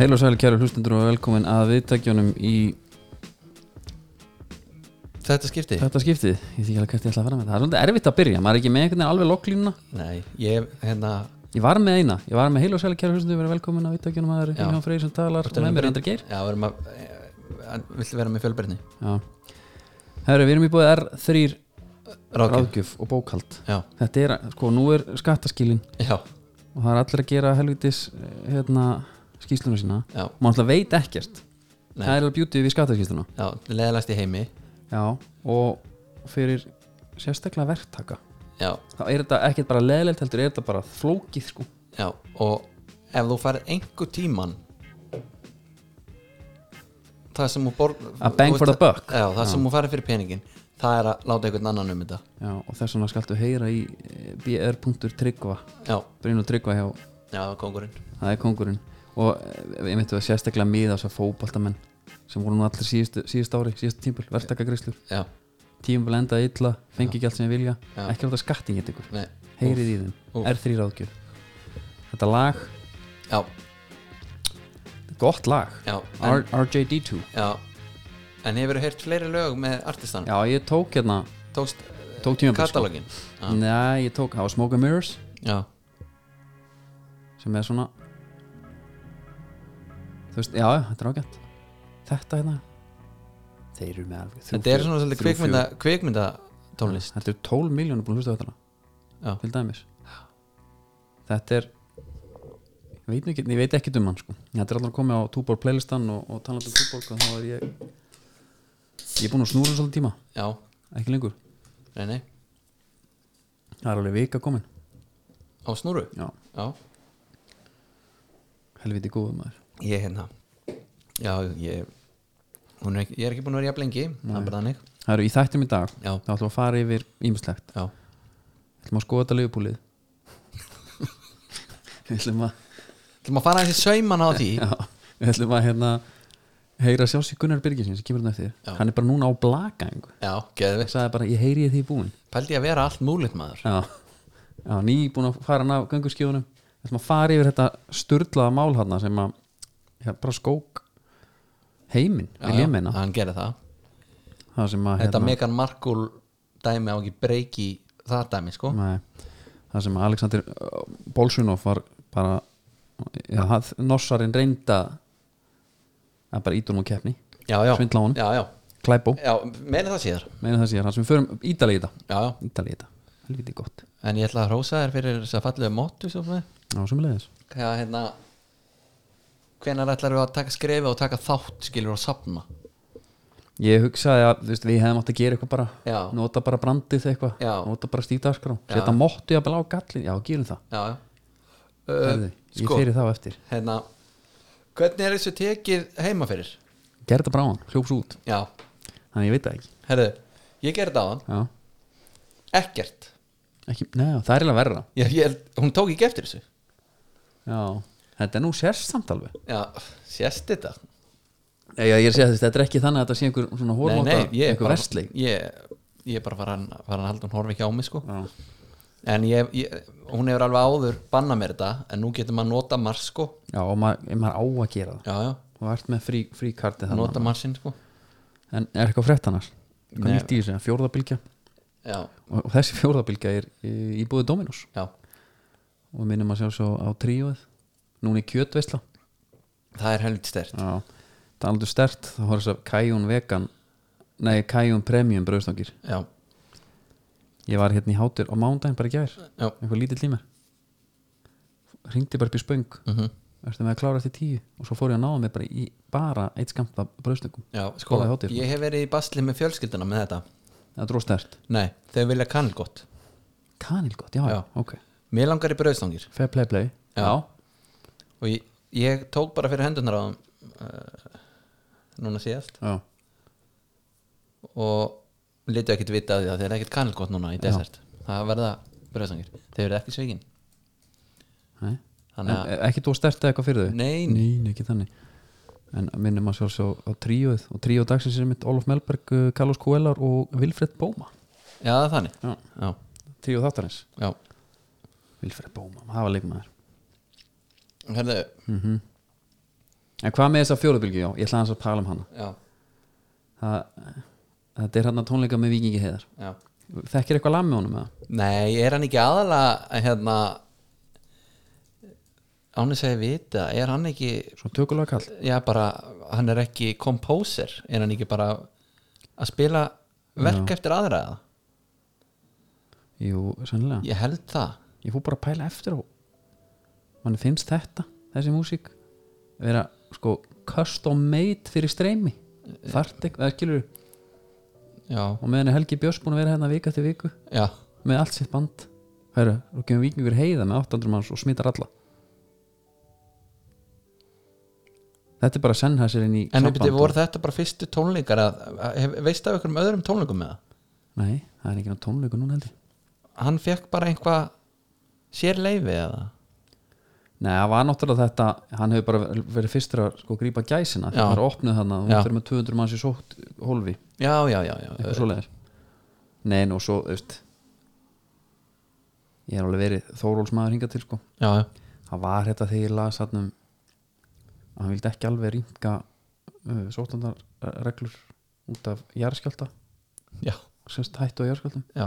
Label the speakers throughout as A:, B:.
A: Heil og sæli kæru hlustundur og velkomin að viðtækjunum í
B: Þetta skipti?
A: þetta skiptið Ég þykja alveg hvert ég ætla að fara með það Það er svolítið erfitt að byrja, maður er ekki með einhvern veginn alveg lokklínuna
B: Nei, ég, hérna
A: Ég var með eina, ég var með heil og sæli kæru hlustundur Verið velkomin að viðtækjunum að það er
B: Já.
A: Jón Freyr sem talar og með mér Andri Geir
B: Já, við erum að eh, Viltu vera með fjölbreytni?
A: Já. Herru, við erum í búið R3
B: Ráðgjöf
A: ráðgjöf og bókald
B: Já,
A: Þetta er, sko, nú er skattaskilin
B: já,
A: Og það er allir að gera helvitis eh, hérna, skýsluna sína
B: já,
A: Má alltaf veit ekkert
B: Nei.
A: Það er alveg beauty við skattaskýsluna
B: já Leðalast í heimi
A: Já, og fyrir sérstaklega verktaka
B: Já,
A: þá er þetta ekkert bara leðilegt heldur er þetta bara flókið sko
B: já Og ef þú farir einhver tíman Það sem þú borg
A: A bang for the buck.
B: Já, það sem þú farir fyrir peningin Það er að láta einhvern annan um þetta
A: já, og þess vegna skaltu heyra í eh, br.tryggva
B: Já,
A: Brynur Tryggva hjá,
B: já, kongurinn
A: það er kongurinn og eh, ég myndi að sérstaklega miða þess að fótboltamenn sem voru nú allir síðustu, síðustu ári, síðustu tímpul verktakagreislur,
B: Já,
A: tímpul endaði illa fengi ekki allt sem ég vilja,
B: Já.
A: ekki láta skatting geta ykkur,
B: nei
A: heyrið í þeim
B: Úff.
A: R3 ráðgjöf þetta lag,
B: Já,
A: gott lag
B: já, en,
A: R RJD2
B: já En hefur þú heyrt fleiri lög með artistan?
A: já, ég tók hérna,
B: Tókst
A: tók tímpul sko.
B: katalógin? Já.
A: Nei, ég tók, það var Smoke and Mirrors
B: Já,
A: sem er svona þú veist, já, já, þetta er ágætt þetta hérna þeir eru með alveg þrjú,
B: þetta er
A: fjögur-
B: svona svolítið
A: þrjú,
B: kvikmynda, kvikmynda tónlist
A: fjögur. þetta er 12 miljónir búin að hlusta á þetta
B: Já.
A: til dæmis þetta er ég veit, ekki, ég veit ekki um hann sko þetta er alltaf að koma á Túborg playlistan og, og tala um Túborg og þá er ég ég er búin að snúra svolítið tíma
B: Já,
A: ekki lengur,
B: nei, nei,
A: það er alveg vika komin
B: á snúru
A: já,
B: Já,
A: helviti góðu maður
B: ég hérna Já, ég hún er ekki, Ég er ekki búin að vera jafn lengi Það er bara þannig
A: það eru í þættum í dag,
B: Já,
A: þá ætlum við að fara yfir ímislegt
B: já,
A: Við ætlum að skoða þetta liðbúlið Við ætlum að
B: ætlum að fara þessi sauman á því
A: já, Við ætlum að hérna heyra sjá sig Gunnar Birgisins sem kemur hann eftir
B: Já.
A: Hann er bara núna á blaka einhver
B: Já, geðu við
A: Hann sagði bara ég heyri ég því búin
B: Pældi ég að vera allt múlið maður
A: Já, já ný búin að fara hann af göngurskjóðunum Við ætlum að fara yfir þetta sturlaða mál hann sem að já, bara skók heiminn, vil ég meina Hérna.
B: Hann gerði það
A: Það sem að
B: Þetta Megan Markle dæmi á ekki breyki það dæmi, sko
A: Nei, það sem Alexander uh, Bolsunov var bara já, hann- norsarinn reynda að bara ítunum á keppni
B: Já, já
A: Svindla á honum.
B: Já, já,
A: Klæbó,
B: já, meina það síðar
A: meina það sér hann sem við förum ítalið í þetta
B: Já, já,
A: ítalið í þetta, helviti gott
B: en ég ætla að hrósa þér fyrir þess að fallega móttu sem við
A: Já, sem leiðis
B: hvað hérna hvenar ætlar við að taka skrefi og taka þátt skilur og safna
A: Ég hugsaði að þú veist, við hefðum átt að gera eitthvað bara
B: Já.
A: nota bara brandið eitthvað
B: Já.
A: nota bara stíðdagskrá, setja móttu jafnvel á gallin Já, gerum það,
B: já, já.
A: herðu, ég
B: sko.
A: fyrir þá eftir
B: hérna hvernig er þessu tekið heima fyrir
A: Gerði þetta bráðan, hljóps út,
B: já,
A: þannig ég veit það ekki
B: herðu, ég gerði það á hann
A: Já,
B: ekkert
A: ekki, neða, það er eiginlega verra
B: ég, ég, held- hún tók ekki eftir þessu
A: Já, þetta er nú sérsamt alveg
B: já, sést þetta
A: Já, já, ég er að segja þetta, þetta er ekki þannig að þetta sé einhver svona hórmáta,
B: ég er
A: einhver
B: bara-
A: vestleik
B: ég, ég er bara farin, farin að halda hún horfi ekki á mig sko
A: Já,
B: en ég, ég, hún hefur alveg áður banna mér þetta en nú getur maður nota mars sko
A: já og maður, ef maður á að gera það
B: já, já,
A: og ert með frí, fríkarti þannig
B: nota marsinn sko
A: en er eitthvað frétt annars? Hvað
B: Nei.
A: nýtt í þessu? Fjórðabilgja
B: já,
A: og, og þessi fjórðabilgja er í, í búið Dominos
B: já,
A: og við minnum að sjá svo á tríóið núna í kjötveisla
B: það er helviti stert
A: Já, það er aldrei stert þá var þess að Kajun vegan nei, Kajun premium bröðstangir
B: já,
A: ég var hérna í hátur á mándaginn bara í gær
B: já,
A: eitthvað lítill tíma ringdi bara upp í spöng
B: mm
A: ertu með að klára eftir tíu og svo fór ég að náða mig bara í bara eitt skamt af bröðstökum
B: já sko,
A: Borðaði hátíð.
B: ég hef verið í basli með fjölskylduna með þetta
A: það er róstært
B: nei, þau vilja kannelgott
A: kanilgott, já, já,
B: Já.
A: ok
B: mér langar í brauðstangir
A: fair play play, já,
B: Já. og ég, ég tók bara fyrir hendunar á eh, þeim uh, núna síðast
A: já.
B: og litu ekkit vita af því að þeir eru ekkit kanilgott núna í desert það verða bröðsangir, þeir eru ekki sveikin
A: Nei. En,
B: þannig að,
A: e- ekki þú stertið eitthvað fyrir þau
B: nei, nei,
A: Nei, nei, ekki þannig En minnum að sjálfsög á tríóið og tríó dagsins er mitt Olof Melberg, uh, Carlos Coelhar og Vilfred Bóma
B: já það er þannig
A: Já.
B: já,
A: Tríó þáttarins
B: já.
A: Vilfred Bóma, það var leikmaður
B: Herðu,
A: En hvað með þessa fjóruðbylgi, já, ég ætla hans að tala um hana
B: já,
A: það, eh, Þetta er hann að tónleika með Vikingi heiðar
B: já
A: Þekkir eitthvað lag með honum eða?
B: nei, er hann ekki aðalega hérna án þess að ég vita er hann ekki,
A: Svo tökulega kall
B: já bara hann er ekki komposer, er hann ekki bara að spila verk eftir aðra eða?
A: Jú, sennilega
B: ég held það
A: Ég fór bara að pæla eftir á Man finnst þetta, þessi músík vera sko custom made fyrir streymi
B: Eh,
A: Þart eitthvað, eða skilur
B: já,
A: og meðan er Helgi Björns búin að vera hérna vika til viku
B: já,
A: með allt sitt band Hæru, og kemur vikingur heiða með 800 manns og smittar alla Þetta er bara að senda sér inn í
B: en
A: samband
B: uppið
A: og-
B: voru þetta bara fyrstu tónleikar að, að, hef- veistu af einhverjum öðrum tónleikum með það?
A: Nei, það er ekki tónleiku núna heldur
B: hann fekk bara einhvað sér leifi eða
A: Nei, það var náttúrulega þetta, hann hefur bara verið fyrstur að sko grípa gæsina
B: Já.
A: þegar það er opnuð þarna og
B: Já.
A: það er með 200 manns í sótt hólfi
B: já, já, já, já.
A: eitthvað svoleiðis Nei, nú svo, þú veist ég er alveg verið Þórólsmaður hingað til sko
B: já, já.
A: það var þetta þegar ég las þarna um að hann vildi ekki alveg rýmka uh, sóttandarreglur út af jarðskjálta
B: já,
A: semst hættu á jarðskjáltum
B: já.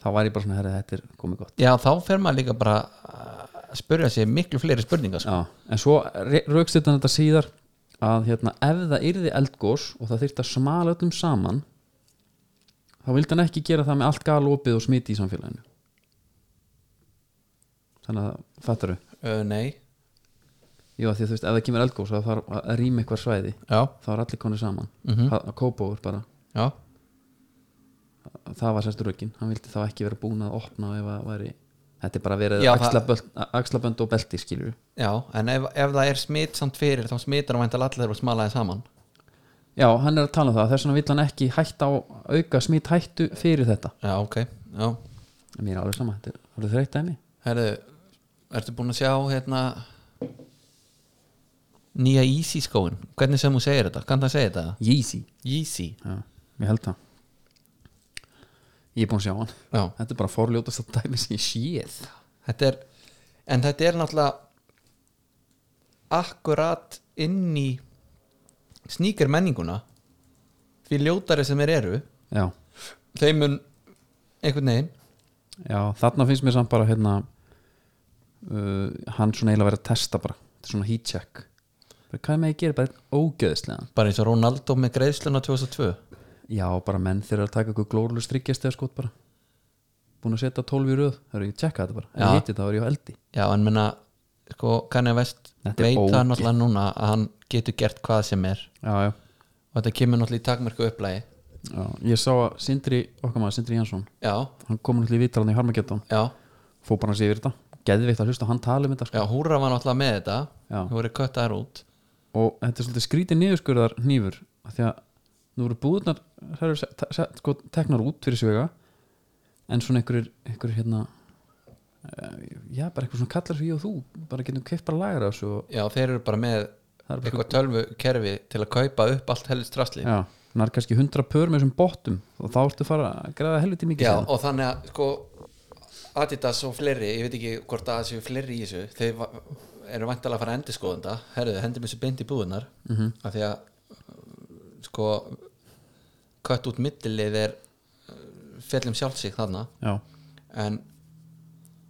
A: þá var ég bara svona herrið þetta er komið gott
B: já þá fer maður líka bara að spurja sér miklu fleiri spurningar sko.
A: Já, en svo raukst þetta þetta síðar að hérna, ef það yrði eldgós og það þyrfti að smala öllum saman þá vildi hann ekki gera það með allt galopið og smiti í samfélaginu þannig að fattar þau
B: uh, nei,
A: Jú, af því að þú veist, ef það kemur eldgós og það þarf að rýma eitthvað svæði
B: já,
A: þá er allir konir saman
B: mm
A: að kópóður bara
B: já
A: það var sérst rökin, hann vildi þá ekki vera búin að opna ef að væri þetta er bara verið
B: Já,
A: axlaböld, axlabönd og belti skilur
B: já, en ef, ef það er smitt samt fyrir þá smittar hann væntal allir og smalaði saman
A: já, hann er að tala um það, þess vegna vill hann ekki hætta á auka smít hættu fyrir þetta
B: já, ok, já
A: En mér er alveg sama, þetta er alveg þreytt dæmi
B: herðu, ertu búin að sjá hérna nýja Easy skóin hvernig sem hún segir þetta, kann það segja þetta
A: Yeezy,
B: Easy,
A: já, ég held það ég er búin að sjá hann
B: já
A: þetta er bara forljótast að dæmi sem ég séð
B: þetta er, en þetta er náttúrulega akkurat inn í sníkir menninguna því ljótari sem þeir eru
A: já,
B: þeim mun einhvern veginn
A: já, þarna finnst mér samt bara hérna uh, hann svona eiginlega verið að testa bara þetta er svona heat check Bara, hvað er með að gera, bara ógeðislega
B: bara eins og Ronaldo með greiðsluna 2002
A: Já, bara menn þeirra að taka eitthvað glórulega stryggjast eða skot bara búin að setja 12 í röð, það eru ég að tjekka þetta bara ef ég
B: Já.
A: hitti það var ég á eldi
B: já en menna sko Kanye West
A: Þetta er
B: veit það
A: ógeð.
B: náttúrulega núna að hann getur gert hvað sem er
A: já, já.
B: og þetta kemur náttúrulega í takmörku upplægi
A: já, ég sá að Sindri, okkar maður Sindri Jansson
B: já,
A: hann kom náttúrulega í vitralan í Harmageddon
B: já,
A: fór bara að sé yfir þetta, geðveikt að hlusta hann tala um þetta sko.
B: já húra var náttúrulega með þetta
A: Já.
B: þú voru köttaðar út
A: og þetta er svolítið skrítið niðurskurðar nýfur af því að nú eru búðnar það eru se- se- sko, teknar út fyrir svega en svona einhverjir, einhverjir hérna eh, já, bara einhver svona kallar sem ég og þú bara getum keift bara lagar af þessu og
B: já þeir eru bara með
A: það er bara
B: eitthvað tölvu kerfi til að kaupa upp allt helst drasli
A: Já, hann er kannski 100 pör með þessum bottum og þá ertu fara að græða helviti mikið
B: Já,
A: síðan.
B: og þannig að sko Adidas og fleiri, ég veit ekki hvort að það séu fleiri í þessu, þeir va- eru vantalega að fara að endurskoðanda, herðu, hendum þessu beint í búðunar, -hmm. af því að uh, sko kött út millilið er uh, fjallum sjálfsík þarna
A: Já,
B: en,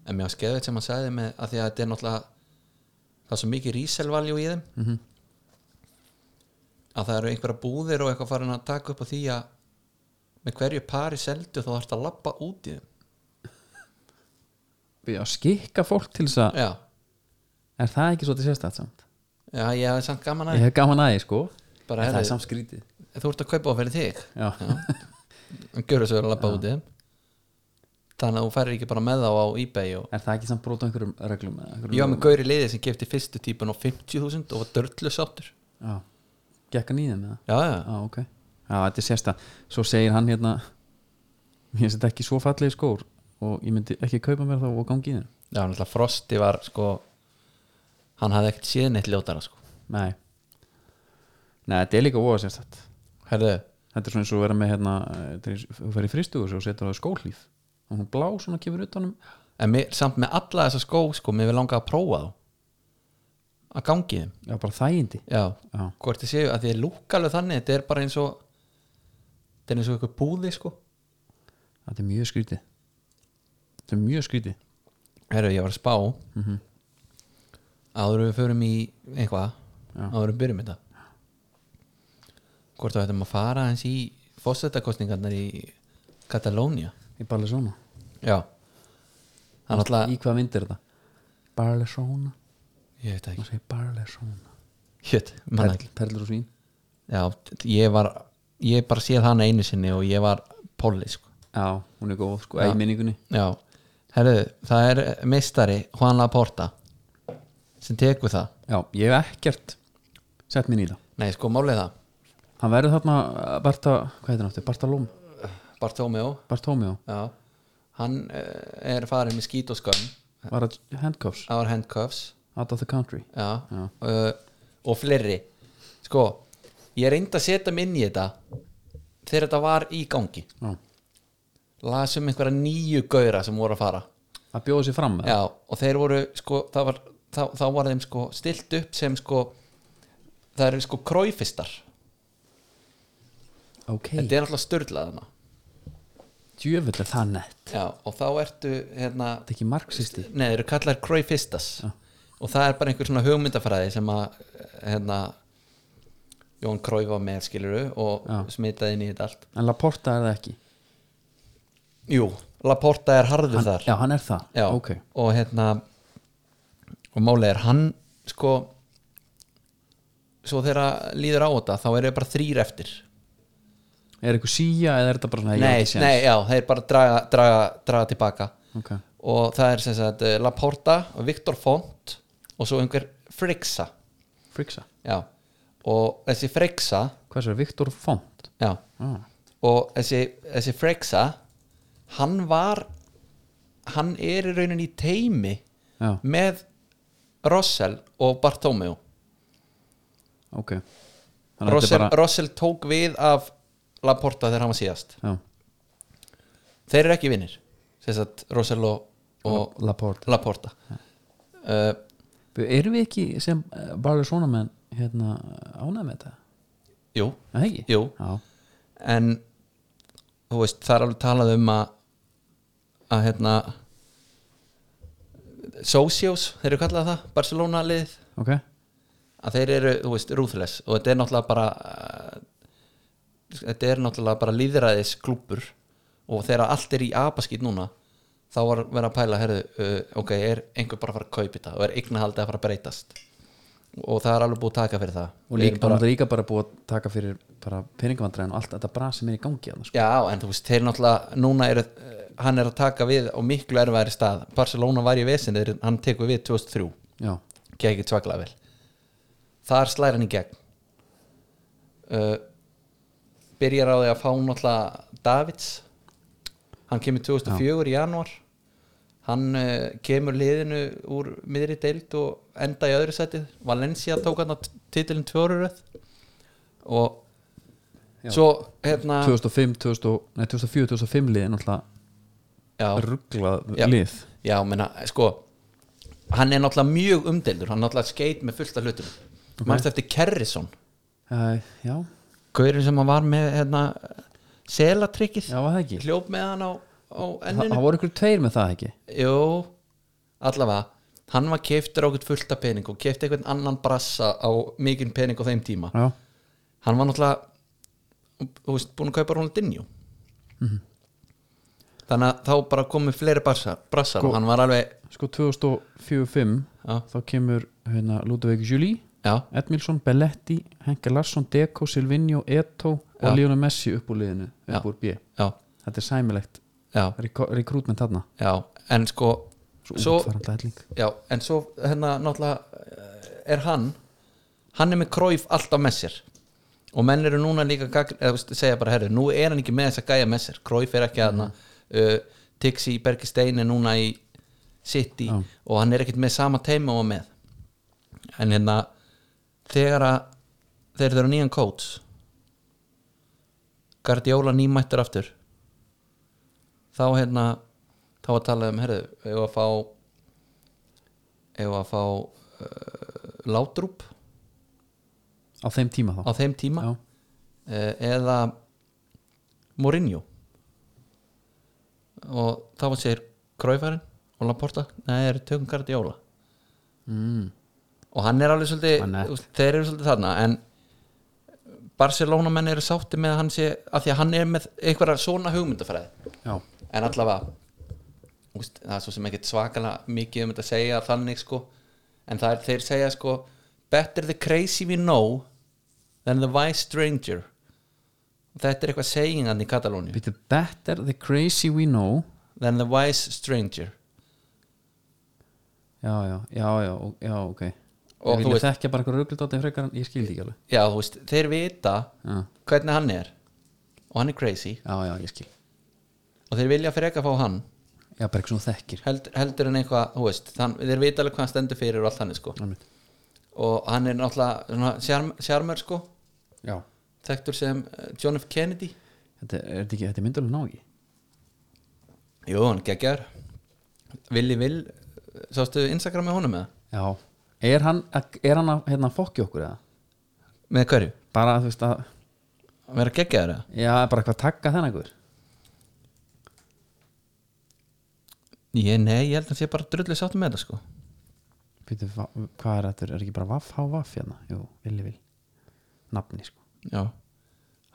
B: en mér var skeðið sem hann sagði með að því að þetta er náttúrulega það er svo mikið resell value í þeim
A: Mhm.
B: -hmm. að það eru einhverja búðir og eitthvað farin að taka upp á því að með hverju pari seldu þá þarfst að labba út í þeim
A: já skikka fólk til þess að
B: já,
A: er það ekki svo til sérstætt samt?
B: já ég hafði samt gaman að
A: Ég hef gaman aðeins sko
B: bara
A: en það er
B: herri,
A: samt skrítið
B: þú ert að kaupa á fyrir þig
A: Já,
B: en gjör þessu að labba út í þeim þannig að þú færir ekki bara með þá á ebay og
A: er það ekki samt brot á einhverjum reglum? eða einhverjum
B: ég var með gauri liðið sem kefti fyrstu típun á 50.000 og var dörlu sáttur
A: Já, gekk hann í þeim eða?
B: já, já,
A: Já, ok, já, Já, þetta er sérsta Svo segir hann hérna Mér finnst þetta ekki svo fallegi skór og ég myndi ekki kaupa mér þá og gangi í þeim
B: Já, náttúrulega Frosti var sko hann hafði ekkert síðan eitt ljótara sko
A: Nei Nei, þetta er líka óa sérstætt
B: Herðu,
A: Þetta er svona eins og að vera með hérna eh, þetta er eins- þú fer í fristugur og setur það skóhlíf og hún blá svona kemur um, utanum
B: en mér, samt með alla þessa skó sko, mér vil langa að prófa þá að gangi þeim
A: Já, bara þægindi
B: Já,
A: Já,
B: hvort þið séu að þið er lúk alveg þannig þetta er bara eins og þetta er eins og eitthvað búði sko
A: þetta er mjög skrítið Þetta er mjög skrítið
B: Herru, ég var að spá
A: Mhm.
B: áður en við förum í eitthvað
A: Já.
B: áður en við byrjum þetta hvort það ættum að fara eins í fósettakostningarnar í Katalónia
A: Í Barlesóna
B: Já Það er náttúrulega
A: Í hvað myndir þetta? Barlesóna
B: Ég veit það
A: Maður
B: ekki
A: segir Barlesóna
B: Shit, manna ekki
A: Perl, Perlur og svín
B: Já, t- ég var Ég bara séð hana einu sinni og ég var Polli sko
A: Já, hún er góð sko, eða í minningunni
B: Já, herru, það er meistari Juan Laporta sem tekur það
A: Já, ég hef ekkert sett minn í það
B: Nei, sko, málið er það
A: Hann verður þarna eh, Barta, hvað heitir hann aftur? Bartalóm,
B: Bartomeu
A: Bartómió
B: Já, hann uh, er farin með skít og skömm
A: Var að handcuffs,
B: Our handcuffs
A: out of the country
B: Já,
A: Já.
B: Uh, og fleiri Sko, ég reyndi að setja mig inn í þetta þegar þetta var í gangi
A: Já,
B: las um einhverja nýju gauðra sem voru að fara
A: að bjóða sér fram með
B: Já, og þeir voru, sko, það var þá, þá var þeim sko stilt upp sem sko það eru sko króifistar
A: Ok,
B: Þetta er alltaf störlað hana
A: djöfull er það nett
B: Já, og þá ertu hérna
A: Þetta er ekki marxisti
B: Nei, þeir eru kallar Cruyffistas og það er bara einhver svona hugmyndafræði sem að hérna Jón Cruyff var með skiluru og
A: Já.
B: smitaði inn í þetta allt
A: En Laporta er það ekki
B: Jú, Laporta er harður
A: hann,
B: þar
A: Já, hann er það ok
B: og hérna og málið er hann sko svo þegar líður á þetta þá eru bara þrýr eftir
A: Er eitthvað síja eða er þetta bara svona ég á
B: Nei,
A: ekki séns?
B: nei, já, þeir bara draga, draga, draga tilbaka
A: Ok,
B: og það er sem sagt eh, Laporta og Viktor Font og svo einhver Frixa
A: Frixa
B: já. og þessi freksa
A: Hvað er það? Viktor Font
B: já.
A: ah.
B: og þessi, þessi freksa hann var hann er í rauninni í teimi
A: Já,
B: með Russell og Bartomeu
A: ok Þannig að þetta
B: Russell,
A: er bara
B: Russell tók við af Laporta þegar hann var síðast
A: Já,
B: þeir eru ekki vinnir Russell og, og
A: Laporta
B: Laporta uh,
A: Erum við ekki sem eh, bara svona menn hérna ánægð með þetta?
B: jú,
A: Er Það ekki?
B: jú
A: Já,
B: en þú veist, það er alveg talað um að að hérna socios, þeir eru kallað það Barcelona lið,
A: ok
B: að þeir eru, þú veist, ruthless og þetta er náttúrulega bara eh, þetta er náttúrulega bara líðræðis klúpur og þegar allt er í apaskýt núna þá var verið að pæla, herðu, uh, ok, er einhver bara að fara að kaupi þetta og er eignahaldið að fara að breytast og það er alveg búið að taka fyrir það
A: Og
B: Við
A: líka
B: erum
A: bara, líka bara búið að taka fyrir bara peningavandræðin og allt þetta bra sem er í gangi sko. annars.
B: Já, en þú veist, þeir náttúrulega núna eru, eh, hann er að taka við á miklu erfæri stað, Barcelona var í vesin þegar hann tekur við 2003
A: Já,
B: gekk ekki svaklega vel þar slæri hann í gegn uh, byrjar á því að fá náttúrulega Davids hann kemur 2004 í janúar hann uh, kemur liðinu úr miðri deild og enda í öðru setið Valencia tók hann á titilin tvöruröð og
A: Já.
B: svo hérna
A: 2005, 2000, nei, 2004, 2005 lið er náttúrulega
B: já.
A: rugglað
B: Já.
A: lið
B: Já, menna, sko hann er náttúrulega mjög umdeildur hann er náttúrulega skeit með fullt af hlutum okay. mannst eftir Kerrison
A: uh, Já,
B: gaurin sem hann var með hérna, selatrykkið
A: já, var það ekki
B: hljóp með hann á, á
A: Það
B: enninu
A: það voru ykkur tveir með það ekki
B: Jú, allavega hann var keiftur á eitthvað fullt af pening og keifti einhvern annan brassa á mikinn pening á þeim tíma
A: Já,
B: hann var náttúrulega þú veist, búin að kaupa Ronaldinho
A: Mhm.
B: þannig að þá bara komið fleiri brassar, brassar og hann var alveg
A: sko 2004-05
B: Já.
A: þá kemur hérna Ludvig Juli
B: já,
A: Edmilsson, Belletti, Henke Larsson Deco, Silvinho, Eto
B: Já.
A: og Lionel Messi upp úr liðinu, upp
B: Já.
A: úr B
B: já,
A: Þetta er sæmilegt
B: já
A: rekrútment þarna
B: Já, en sko
A: Svo,
B: svo,
A: útfarandi helling.
B: já, en svo hérna náttúrulega eh, er hann hann er með króif alltaf með sér og menn eru núna líka gagn, eða, þú veist, segja bara herri, nú er hann ekki með þess að gæja með sér Króif er ekki aðna uh, Tixi Bergistein er núna í City
A: Já.
B: og hann er ekkert með sama teima og var með en hérna þegar að þegar þeir eru nýjan coach Guardiola nýmættur aftur þá hérna þá að tala um herri, ef að fá ef að fá uh, látrúp
A: á þeim tíma þá
B: á þeim tíma
A: já,
B: Eh, eða Mourinho og þá var sér Kræfærin og Laporta nei, þeir tökum Guardiola
A: mm.
B: og hann er alveg svolítið,
A: Hann er-
B: þú veist, þeir eru svolítið þarna en Barcelona menn eru sátti með að hann sé af því að hann er með einhverja svona hugmyndafræði
A: já.
B: en allavega þú veist, það er svo sem ekkert svakala mikið um þetta að segja þannig sko en það er þeir segja sko better the crazy we know than the wise stranger þetta er eitthvað segingan í Katalóni
A: Býttu, better the crazy we know
B: than the wise stranger
A: já, já, já, já, ó- já ok
B: Og
A: ég
B: þú
A: vilja
B: veist-
A: þekkja bara eitthvað ruggludóttin frekar en ég skildi ekki alveg
B: já þú veist, þeir vita
A: já,
B: hvernig hann er og hann er crazy
A: já, já, ég skil
B: og þeir vilja freka fá hann
A: já, bara eitthvað svona þekkir
B: held, heldur en eitthvað, þú veist þann, þeir vita alveg hvað hann stendur fyrir og allt hann sko
A: Einmitt.
B: og hann er náttúrulega svona sjarm- sjarmer sko
A: já,
B: þekktur sem eh, John F. Kennedy
A: þetta er, er, þetta ekki, þetta er myndulega ná ekki
B: Jú, hann geggjar Willi Will, sástu Instagram með honum með
A: já, er hann, að- er hann að hérna, fokki okkur eða?
B: Með hverju?
A: bara, þú veist að
B: Að vera geggjar eða?
A: já, bara hvað takka þennan ykkur
B: Ég, nei, ég held að hann sé bara drullu sáttu með þetta sko
A: Býttu, va- hvað er þetta, er ekki bara vaff, há vaff hérna, jú, villi vil nafni, sko,
B: Já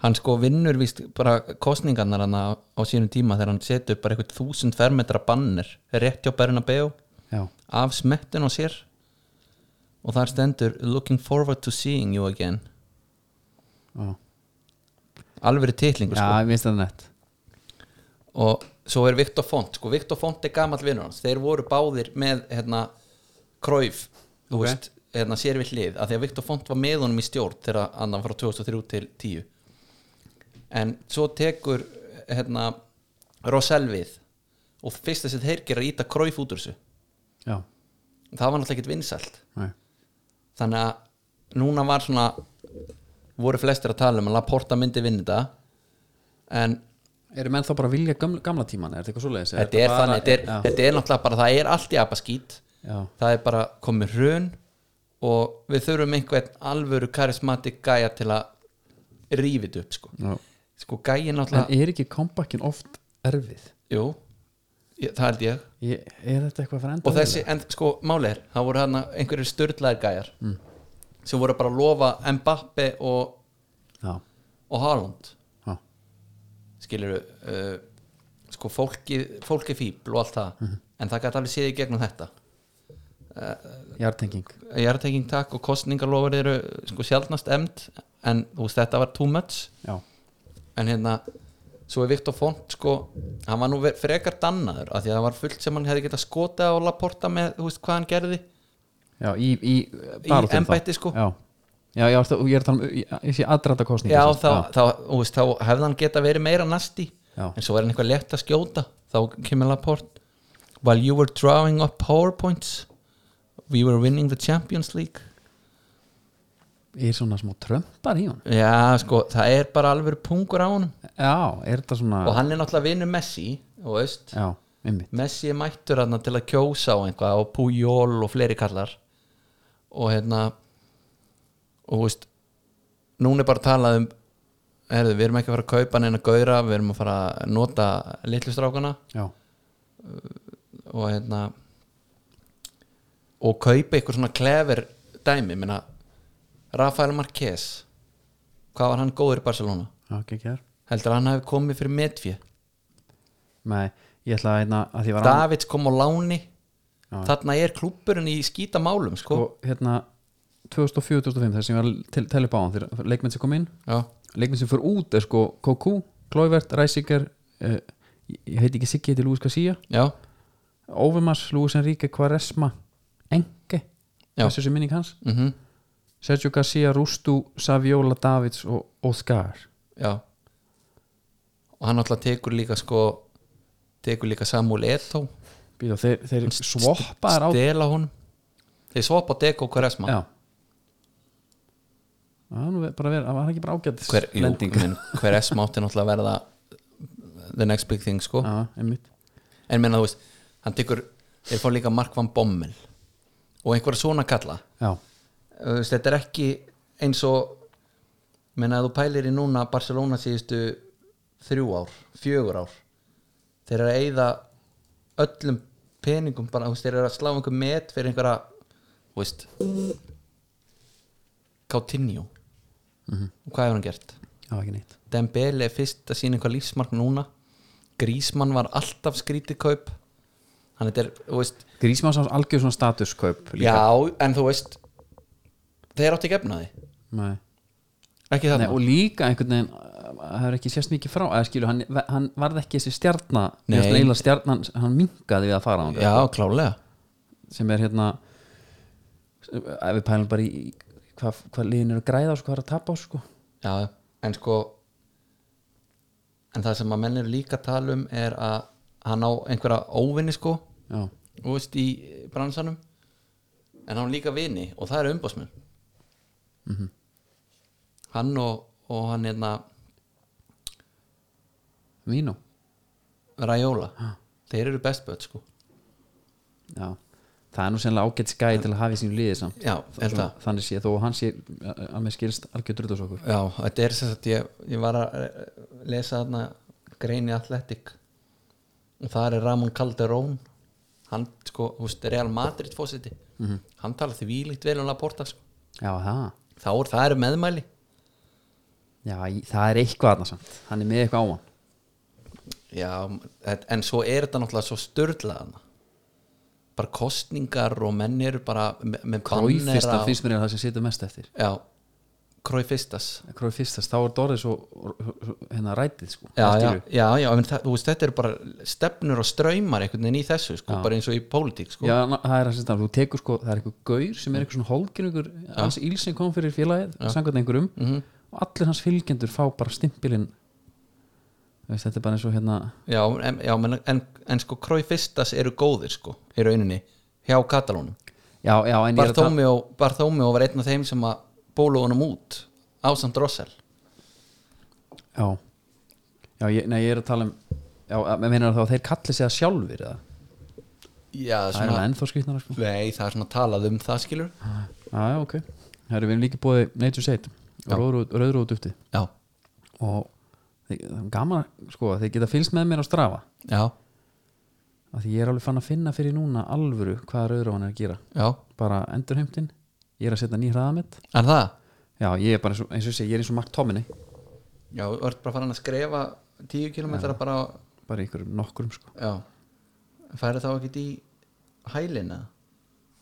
B: Hann sko vinnur víst bara kostningarnar hann á á sínum tíma þegar hann setur upp bara eitthvað þúsund fermetra bannir rétt hjá Bernabeu
A: já,
B: af smettin á sér og þar stendur looking forward to seeing you again
A: já
B: alveg titlingur sko
A: já, ég veist þetta nett
B: og svo er Viktor Font sko, Viktor Font er gamall vinnur hans þeir voru báðir með hérna Kræf, þú
A: Ok.
B: veist, hérna sér við hlið af því að Viktor Font var með honum í stjórn þegar andan frá 2003 til 10 en svo tekur hérna Rosell við og fyrst þessi þeir gera að íta Kræf út úr þessu
A: já,
B: það var náttúrulega ekkit vinsælt
A: nei,
B: þannig að núna var svona voru flestir að tala um að Laporta myndi vinna þetta en
A: Eru menn þá bara að vilja gamla, gamla tíman er þetta eitthvað svoleiðis?
B: þetta er
A: bara-
B: þannig, þetta er, þetta er náttúrulega bara það er allt í apaskít
A: já, já,
B: það er bara komið hrun og við þurfum einhvern alvöru karismatik gæja til að rífið upp sko,
A: já.
B: sko gæjin náttúrulega
A: En er ekki comebackin oft erfið?
B: jú, ég, það held ég
A: Ég, er þetta eitthvað fyrir enda
B: og þessi, en sko máli er það voru hann einhverjir störðlæðir gæjar sem voru bara að lofa Mbappe og,
A: Já,
B: og Haaland
A: já,
B: skilur uh, sko fólki, fólki fíbl og allt það en það gæti alveg séð í gegnum þetta Uh,
A: jartenging
B: jarðtenging takk og kostningalofur eru sko sjálfnast emnd en þú veist þetta var too much
A: Já,
B: en hérna svo er Viktor Font sko hann var nú ve- frekar dannaður af því að það var fullt sem hann hefði getað skotað á Laporta með þú veist hvað hann gerði
A: já, í, í baráttunni þá.
B: embætti, sko.
A: Já, já, já ertu- ég er að tala um, ég, ég sé aðræta kostning
B: já þá, þá, þú veist, þá hefði hann getað verið meira nasti
A: Já.
B: en svo er hann eitthvað lett að skjóta þá kemur Laporte while you were drawing up powerpoints we were winning the Champions League
A: Ég er svona smá trömpar í hún
B: já sko það er bara alveg pungur á honum
A: Já, er þetta svona
B: og hann er náttúrulega vinur Messi og veist,
A: Já, einmitt
B: Messi er mættur hann til að kjósa á einhvað og Pujol og fleiri kallar og hérna og þú veist núna er bara að tala um herðu, við erum ekki að fara að kaupa neina gauðra við erum að fara að nota litlustrákana
A: Já,
B: og hérna og kaupa eitthvað svona klefir dæmi, menna Rafael Marquez hvað var hann góður í Barcelona?
A: já, ekki ekki þar
B: heldur hann hafi komið fyrir metfið
A: Nei, ég ætla að einna að því var annað-
B: Davids kom á láni
A: Já.
B: þarna er klúpurinn í skítamálum sko.
A: sko, hérna 2004-2005 þess sem ég var að tel- telja upp á hann þegar leikmenn sem kom inn,
B: já,
A: leikmenn sem fyrir út er sko Koku, Klóivert, Ræsinger uh, ég ég heiti ekki Siggi, ég heiti Lúis Garcia
B: já,
A: Óvimas, Lúis Enrique, Quaresma Enge,
B: Já.
A: þessu sem minning hans
B: mhm
A: Sergio Garcia, Rustu, Saviola Davids og Óðgar
B: já og hann alltaf tekur líka sko tekur líka Samuel Eto
A: Býða, þeir, þeir svoppaðar á
B: stela honum þeir svoppa Deco Quaresma
A: Já Það var nú bara verið, það var ekki bara ágætis
B: hver, jú,
A: lending.
B: menn, Quaresma átti náttúrulega að verða the next big thing sko
A: Já, einmitt
B: en menna þú veist, hann tekur þeir fá líka Mark van Bommel og einhverja svona kalla
A: Já,
B: Þú veist, þetta er ekki eins og menna að þú pælir í núna Barcelona síðustu þrjú ár, fjögur ár þeir eru að eyða öllum peningum bara, þú veist, þeir eru að slá einhver met fyrir einhverja þú veist Coutinho og hvað hefur hann gert?
A: það var ekki neitt
B: Dembele er fyrst að sína eitthvað lífsmark núna Grísmann var alltaf skrítið kaup hann þetta er, þú veist
A: Grísmann sá algjör svona statuskaup líka.
B: já, en þú veist þeir átti ekki efnaði,
A: Nei.
B: ekki
A: Nei,
B: þarna
A: og líka einhvern veginn uh, það hefur ekki sérst mikið frá eða skilu, hann, hann varð ekki þessi stjarna
B: Nei.
A: eila stjarnan, hann minkaði við að fara á hann
B: Já, klálega
A: sem er hérna ef við pælum bara í í hvað hva liðin eru að græða á sko, hvað er að tapa á sko
B: Já, en sko en það sem að menn eru líka að tala um er að hann á einhverja óvinni sko
A: já,
B: þú veist, í bransanum en hann á líka vini og það eru umbóðsmenn Mhm. hann og, og hann hérna
A: vínu
B: Rajóla þeir eru bestböð sko
A: já. það er nú sennilega ágætt skæði til að hafa í sínu liði samt
B: Já, held
A: Svo-
B: það.
A: þannig sé þó að hann sé að að mér skilst algjör drutt á okkur
B: Já, þetta er sem sagt ég, ég var að eh, lesa þarna greini Athletic og það er Ramon Calderón hann sko, þú veist, Real Madrid fósiti, hann talar því vílíkt vel um Laporta, sko.
A: já, það,
B: þá er það eru meðmæli
A: já, í- það er eitthvað þarna samt hann er með eitthvað á hann
B: Já, þetta- en svo er þetta náttúrulega svo störðlaðan bara kostningar og menn eru bara me- með
A: Króifista
B: bannera og-
A: finnst mér er það sem situr mest eftir
B: Já, Króifistas
A: Króifistas, þá er Dóri svo hérna rætið sko
B: Já, já,
A: Skilurðu?
B: já, já en það, þú veist, þetta eru bara stefnur og straumar einhvern veginn í þessu, sko, bara eins og í pólitík, sko
A: Já, ná- það er að sérst að þú tekur sko, það er einhver gaur sem er einhver svona hólkinningur hans íl sem kom fyrir félagið, sangat einhverjum
B: Mhm.
A: og allir hans fylgjendur fá bara stimpilinn Þú veist, þetta er bara eins og hérna
B: Já, en, já menn, en, en sko Króifistas eru góðir sko í rauninni hjá Katalónum
A: Já, já, en ég er að tala
B: Barthómió Barthómió var einn af þeim sem að bólu honum út ásamt Rossell
A: Já, já ég, nei, ég er að tala um Já, með meinar þá að þeir kalli sig það sjálfur eða? Það
B: Já,
A: er alveg
B: svona
A: ennþá skrifnara sko
B: Nei, það er svona talað um það skilur
A: Já, já, ok Það eru við erum líka búið Nature Sate og Rauðrúðdufti
B: Já,
A: og þeir, það er gaman að- sko, að þeir geta fylgst með mér á strafa
B: já,
A: af því ég er alveg fann að finna fyrir núna alvöru hvað rauðróan er að gera
B: já
A: bara endurheimtin, ég er að setja ný hraðamett
B: Er það?
A: já, ég er bara eins og, eins og ég segi, ég er eins og Mark Tomini
B: Já, þú ert bara farin að skrefa 10 kilometra bara á-
A: bara í einhverjum nokkrum sko
B: Já Færi þá ekkert í hælina?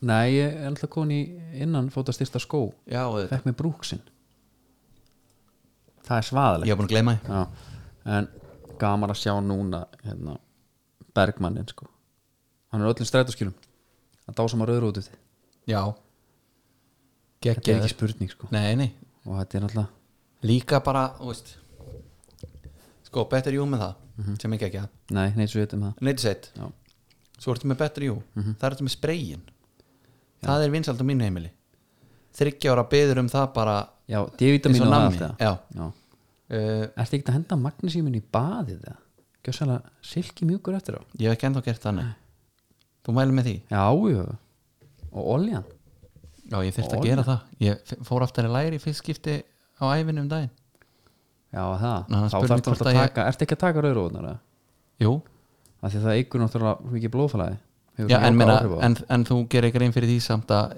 A: nei, ég er alltaf komin í innan fótastyrta skó,
B: Já, auðvitað
A: fekk mér brúksinn það er svaðalegt
B: Ég var búin að gleyma því
A: já, en gaman að sjá núna hérna, Bergmannin sko hann er á öllum strætóskilum að dásama rauðrót út þetta
B: Já
A: er ekki
B: Gekkið
A: spurning sko
B: Nei, nei,
A: og þetta er alltaf
B: líka bara þú veist, sko better you með það sem ekki ekki að
A: Nei, neitt svo veitum það
B: neitt sett,
A: Já.
B: svo ertu með better you það ertu með sprayin það er vinsald á mínu heimili þryggja ára beður um það bara
A: Já, D-vitamin
B: Eins og
A: og það
B: nammi,
A: allt það
B: já.
A: já.
B: uh,
A: Ertu ekkert að henda magnesímin í baðið það? Gjössalega silki mjúkur eftir á
B: ég hef ekki ennþá gert þannig þú mælu með því,
A: Já, jú Og oljan
B: já ég þyrfti að
A: Ó,
B: gera það ég f- fór aftur í læri í fyrst skipti á ævinni um daginn,
A: Já, það
B: Ná, það er
A: Þá
B: spurning
A: þarf
B: hvort
A: það að
B: að ég-
A: taka Ertu ekki að taka rauðróðunar það?
B: jú
A: Af því að það eigur náttúrulega svo mikið blóðfælaði Hefur
B: já,
A: svona
B: en,
A: jákvæð
B: meina,
A: áhrif á það.
B: en, en þú gerir grein fyrir því samt að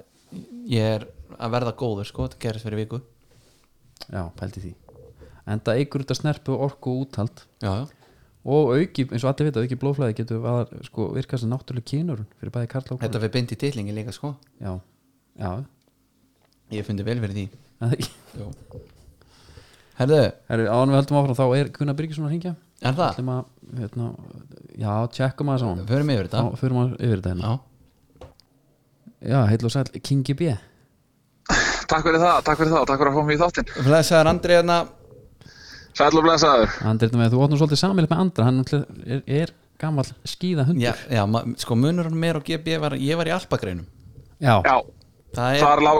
B: ég er að verða góður sko, þetta gerist fyrir viku
A: Já, pældi því En það eigur út að snerpu orku og úthald
B: já, já
A: Og auki, eins og allir vita, auki blóðflæði getur að, sko, virka sem náttúrulega kínur fyrir bæði karl og
B: Þetta fyrir bindi titlingi líka sko
A: Já, já,
B: Ég fundi vel fyrir því
A: það ekki
B: Jó. Herðu,
A: Herri, áðan við höldum áfram, þá er Gunnar Byrgisson að hringja
B: er það?
A: ætlum að, hérna, já, tjekkum að þessan
B: Förum yfir þetta
A: þá förum að yfir þetta hérna
B: Já,
A: já, heil og sæl, Kingi B
C: takk fyrir það, takk fyrir það og takk fyrir að fá mig í þáttinn
B: Blessaður Andri hérna
C: Sæll og blessaður
A: Andri, þú þú átt nú svolítið samilegt með Andra hann náttúrulega er, er gammal skíðahundur
B: Já, já ma- sko munurinn mér og GB var ég var í alpagreinum
A: já,
C: Já,
B: Það er,
C: þar lá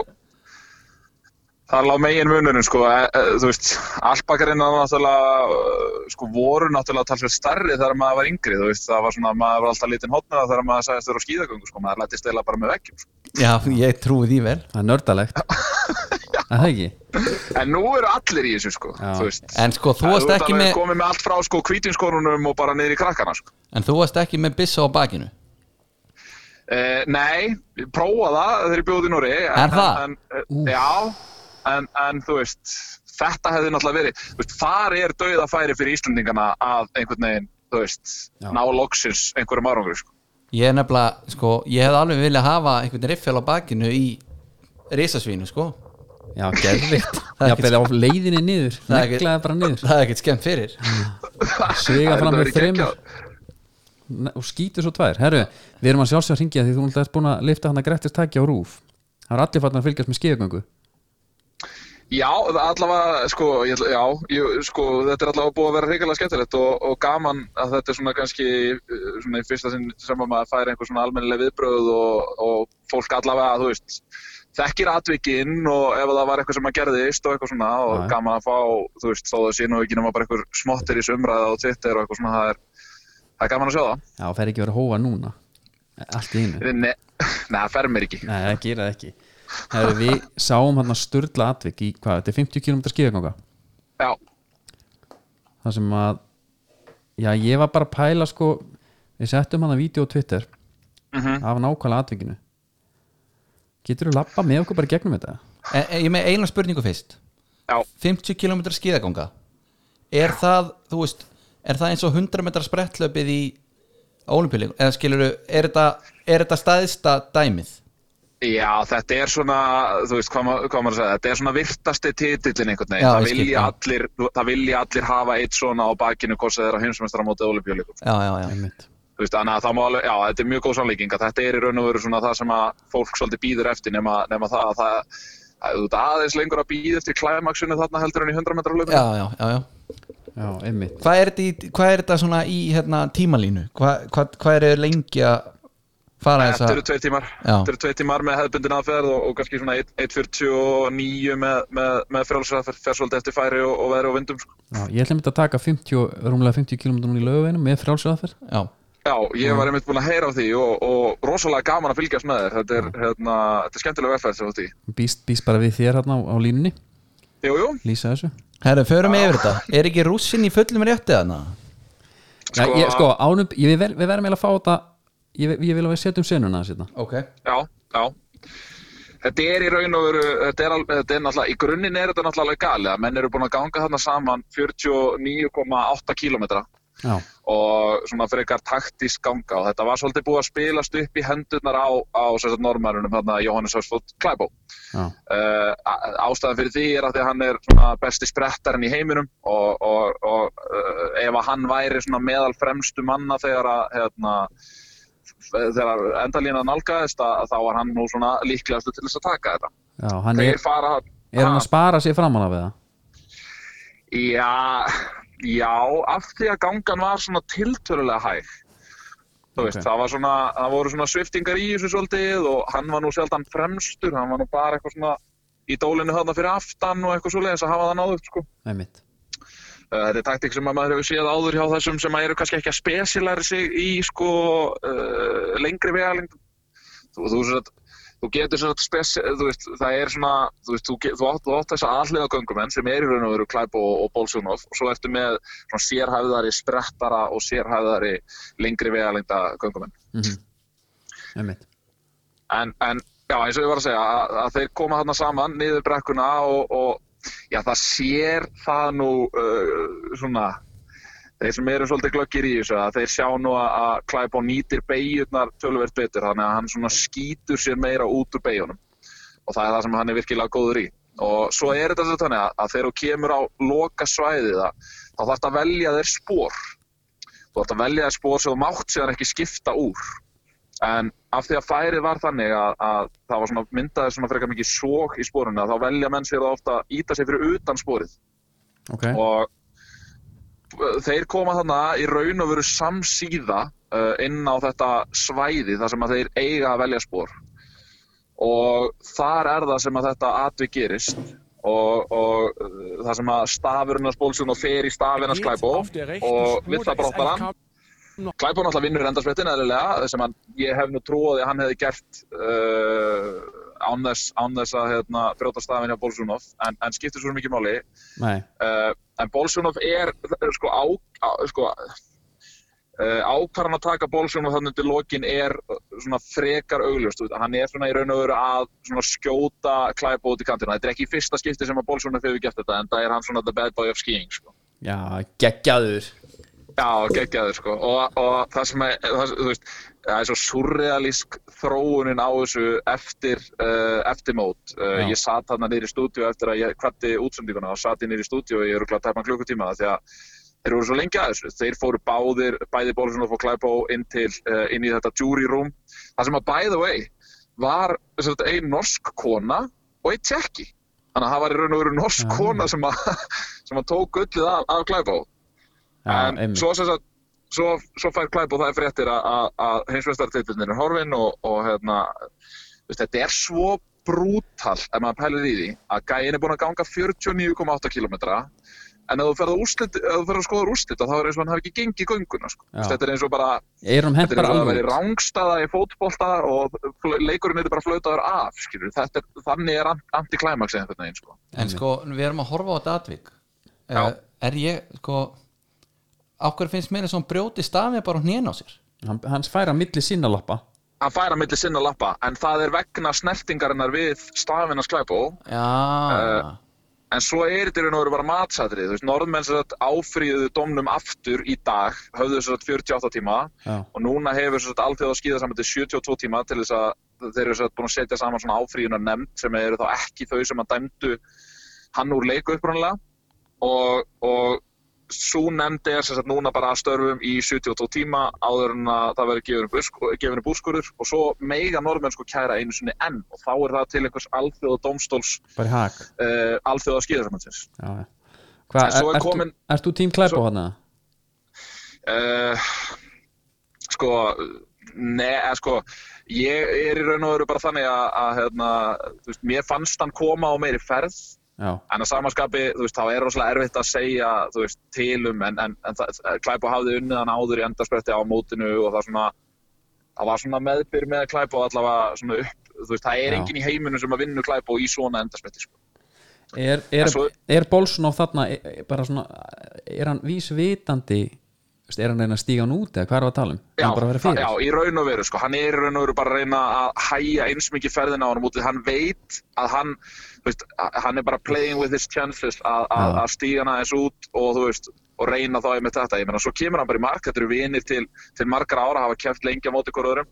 C: þar lá megin munurinn sko, e, e, þú veist alpakarinn var náttúrulega eh, sko voru náttúrulega talsveit starri þegar maður var yngri, þú veist, það var svona maður var alltaf lítinn hotnaða þegar maður sagðist þurra á skíðagöngu sko, maður lættist eila bara með veggjum sko.
B: já, ég trúi því vel
A: það er nördalegt er það ekki?
C: en nú eru allir í þessu sko,
A: Já.
C: þú veist
B: En sko, þú varst
C: ert
B: ekki
C: alveg
B: með
C: komið með allt frá sko kvítinskorunum og bara niður í krakkana sko.
B: En þú varst ekki með byssa á bakinu
C: Uh, nei, ég prófa það þegar ég bjóði í Núri.
B: Er það?
C: En, en, uh, já, en, en þú veist, þetta hefði náttúrulega verið, þú veist, þar er dauðafæri fyrir Íslandingana að einhvern veginn, þú veist,
A: Já.
C: ná loksins einhverjum árangri, sko.
B: Ég er nefnilega, sko, ég hefði alveg viljað hafa einhvern riffjál á bakinu í risasvínu, sko
A: já, gerðvikt
B: Það er
A: já,
B: ekki-
A: beðið á leiðinni niður,
B: Það er ekki-
A: neklaði bara niður
B: Það er ekkert skemmt fyrir
A: Sviga
C: Þetta
A: fram með
C: verður
A: þreymur
C: geggjað.
A: Ne- og skýtur svo tvær herru, við erum að sjálfsög að ringja því þú náttúrulega ert búin að lifta hann að greftist tækja á rúf það var allir farnar að fylgjast með skíðagöngu
C: Já, það allavega, sko, ég, ætla- já, ég, sko, þetta er allavega búið að vera hrigalega skemmtilegt og, og gaman að þetta er svona kannski uh, svona í fyrsta sinn sem að maður fær einhver svona almennileg viðbröð og, og fólk allavega, þú veist, þekkir atvikinn og ef það var eitthvað sem að gerðist og eitthvað svona og
A: Já, já.
C: gaman að fá, þú veist, þó það sé nú ekki nema bara einhver smottir í sumræða og Twitter og eitthvað svona, það er, það er gaman að sjá það.
A: já, það fer ekki að vera hófa núna allt í einu, nei,
C: Nei, nei, það fer mér ekki.
A: það gerir það ekki herru, við sáum hann að sturla atvik í hvað, þetta er 50 km skíðagönga
C: Já,
A: það sem að já, ég var bara að pæla sko við settum hann að vídeo á Twitter af nákvæmlega atvikinu getur þú lappa með okkur bara í gegnum þetta?
B: en, en, Eh, Ég er með eina spurningu fyrst
C: já,
B: 50 km skíðaganga Er það, þú veist Er það eins og 100 metrar sprettlöpið í Ólympíuleikum, eða skilur er þetta, er þetta staðista dæmið
C: Já, þetta er svona, þú veist hvað, ma- hvað maður að segja, þetta er svona virtasti titillin einhvern veginn,
B: Já,
C: það,
B: ég skil,
C: vilja
B: já.
C: allir, það vilja allir hafa eitt svona á bakinu hvort sem þeir eru heimsmeistar á móti olífjölíkum.
B: Já, já, já,
A: Einmitt.
C: Þú veist, þannig að það má alveg, já, þetta er mjög góð sannleiking að þetta er í raun og veru svona það sem að fólk svolítið býður eftir nema, nema það að það, að þú ert aðeins lengur að býða eftir klæmaksinu þarna heldur en í 100 metra lögum.
B: já, já, já, já.
A: já, einmitt
B: Hvað, er þetta í, hvað er þetta svona í hérna, tímalínu Hva, hvað, hvað er lengi að fara þess
C: Þetta
B: að
C: eru tveir tímar,
B: Já.
C: þetta eru tveir tímar með hefðbundin aðferð og, og kannski svona 1.49 með, með, með frjálsraðferð, fer svolítið eftir færi og, og veðri og vindum, sko.
A: já, ég ætlum þetta að taka 50, rúmlega 50 km núna í lögveginum með frálsraðferð
B: Já,
C: Já, ég var einmitt búinn að heyra á því og, og rosalega gaman að fylgjast með þér. Þetta er, hérna, þetta er skemmtilega verðferð sem þú ert í.
A: býst, býst bara við þér hérna á, á línunni
C: Jú, jú,
A: lýsa þessu
B: herru, förum yfir þetta Er ekki rússin í fullum rétti þarna?
A: sko, já, ég, sko ánum, ég, við, ver, við verðum eiginlega að fá þetta ég, ve- ég vil að við setjum senuna þess hérna
B: Ok
C: já, já. Þetta er í raun og veru, þetta er, al- þetta er náttúrulega, í grunninn er þetta náttúrulega alveg galið að menn eru búin að ganga þarna saman 49,8 kílómetra
A: já,
C: og svona frekar taktísk ganga og þetta var svolítið búið að spilast upp í hendurnar á, á sem sagt, normærunum, þarna Jóhannes Hörsfótt Klæbó.
A: já,
C: uh, ástæðan fyrir því er að því að hann er svona besti sprettarinn í heiminum og, og, og uh, ef að hann væri svona meðal fremstu manna þegar að hérna, þegar endalína nálgæðist að, þá var hann nú svona líklegastu til þess að taka þetta.
A: já, hann
C: Þeir
A: er,
C: fara
A: er hann að spara sér framan af það
C: Já, já, af því að gangan var svona tiltölulega hæg. Þú veist,
A: Ok.
C: það, var svona, það voru svona sviftingar í þessu svolítið og hann var nú sjaldan fremstur, hann var nú bara eitthvað svona í dólinu þarna fyrir aftan og eitthvað svoleiðis að hafa það náður, sko.
A: einmitt,
C: Uh, Þetta er taktík sem að maður hefur séð áður hjá þessum sem að eru kannski ekki að spesilæri sig í sko uh, lengri vegalengd. Þú, þú, sem sagt- þú getur svona spesi, þú veist, það er svona, þú veist, þú, get, þú, átt, þú átt þessa alliða göngumenn sem er í raun og veru Klæbo og, og Bolsjónov og svo ertu með svona sérhæfðari sprettara og sérhæfðari lengri vegalengda göngumenn.
A: Mhm. einmitt.
C: En, en já, eins og ég var að segja, að, að þeir koma þarna saman niður brekkuna og, og já, það sér það nú uh, svona, þeir sem eru svolítið glöggir í þessu, að þeir sjá nú að, að Klæbó nýtir beigjurnar tölverð betur, þannig að hann svona skýtur sér meira út úr beigjunum og það er það sem hann er virkilega góður í. Og svo er þetta svo þannig að, að þegar þú kemur á loka svæðið að, þá þarf að velja þér spór. Þú þarf að velja þér spór sem þú mátt síðan ekki skipta úr en af því að færið var þannig að, að það var svona myndaðir svona frekar mikið sók í spórunni að þá velja menn sér það ofta að íta sig fyrir utan spórið
A: ok,
C: og uh, þeir koma þarna í raun og veru samsíða uh, inn á þetta svæði þar sem að þeir eiga að velja spór og þar er það sem að þetta atvik gerist og, og uh, það sem að stafurinn að spólsun og fer í stafinn að sklæbó og vill að brottar hann Klæbó náttúrulega vinnur endarsprettin eðlilega sem hann, ég hef nú trúið að hann hefði gert uh, án, þess, án þess að hérna, brjóta stafinn hjá Bolsunov en, en skiptir svo mikið máli
A: nei
C: uh, en Bolsunov er er sko, á, á, sko uh, ákvarðan að taka Bolsunov þannig til lokin er uh, svona frekar augljóst, þú veit, hann er svona í raun og veru að svona skjóta klæpa út í kantina, þetta er ekki í fyrsta skipti sem að Bolsunov hefur gert þetta en það er hann svona the bad boy of skiing sko.
A: já, geggjaður
C: Já, geggjaður sko og, og það sem er, það, þú veist, það er svo surrealísk þróunin á þessu eftir, uh, eftir mót. Uh,
A: Já.
C: ég satt þarna niður í stúdíu eftir að ég kvætti útsendinguna og satt ég niður í stúdíu og ég eru glæð að tæpa klukkutíma því að þeir voru svo lengi að þessu. Þeir fóru báðir, bæði Bólusson og Klæbó inn, til, uh, inn í þetta jury room. Það sem að by the way var sem sagt, ein norsk kona og ein tjekki. Þannig að það var í raun og veru norsk
A: Já.
C: kona sem að, sem að tók gullið af, af Klæbó
A: já,
C: en
A: einmitt,
C: svo, sem sagt, svo, svo fær Klæb og það er fréttir að- að að heimsveistartitlinir er horfinn og, og hérna, þú veist, þetta er svo brútal ef maður pælir í því að gæin er búin að ganga 49,8 km en ef þú ferð að, úrslit, ef þú ferð að skoða úrslit þá er eins og hann hafi ekki gengið gönguna sko.
A: Já.
C: Þú veist, þetta er eins og bara
A: Eirum hent
C: þetta er
A: bara
C: eins og að
A: alveg
C: vera í
A: út.
C: rángstaða í fótbolta og fl- leikurinn er bara flötaður af skilur. þetta er, þannig er ant- antiklæmaks einhvern veginn sko.
B: En sko, við erum að horfa á þetta atvik
C: Já.
B: Eh, Er ég, sko Ákveður finnst mér eins og hann brjóti stafið bara hún á sér
A: hann, hans færa milli sinna lappa
C: hann fær að milli sinna lappa en það er vegna snertingarinnar við stafinn að Klæbó
B: Já,
C: En svo er þetta í raun og veru bara matsatrið, þú veist, norðmenn sem sagt áfríðu domnum aftur í dag, höfðu sem sagt 48 tíma
A: já,
C: og núna hefur sem sagt alltaf að skýða saman til 72 tíma til þess að þeir eru sem sagt búin að setja saman svona áfríðunar nefnd sem eru þá ekki þau sem að dæmdu hann úr leiku upprunalega og, og svo nefnd er sem sagt núna bara að störfum í 72 tíma áður en að það verður gefinu, busk, gefinu búskurur og svo meiga norðmenn sko kæra einu sinni enn og þá er það til einhvers alþjóða domstóls
A: bara í hak
C: uh, alþjóða skýðarsamhansins.
A: já, já. Hva,
C: En svo er
A: er,
C: komin-
A: ertu, ertu tím klæpa
C: svo-
A: hann eða?
C: Uh, sko, ne, eh, sko, ég er í raun og veru bara þannig að, að hérna, þú veist, mér fannst hann koma á meiri ferð,
A: já,
C: en að samaskapi, þú veist, þá er rosalega erfitt að segja, þú veist, tilum, en, en, en það- Klæbo hafði unnið hann áður í endarspretti á mótinu og það svona, það var svona meðbyr með Klæbo allavega svona upp, þú veist, það er
A: Já.
C: enginn í heiminum sem að vinna Klæbo í svona endarspretti, sko.
A: er, er,
C: En svo-
A: er Bolsonov þarna er, er bara svona, er hann vísvitandi þú veist, er hann að reyna að stíga hann út eða hvað er það að tala um, er
C: Já,
A: hann bara að vera fyrir
C: já, í raun og veru, sko, hann er í raun og veru bara að reyna að hæja eins mikið ferðina á hann út, því hann veit að hann, þú veist, að- hann er bara playing with his chances að, að,
A: Já.
C: að stíga hann aðeins út og, þú veist, og reyna þá einmitt þetta, ég meina, svo kemur hann bara í mark, þetta eru vinir til, til margra ára, hafa kæft lengi á móti hver öðrum,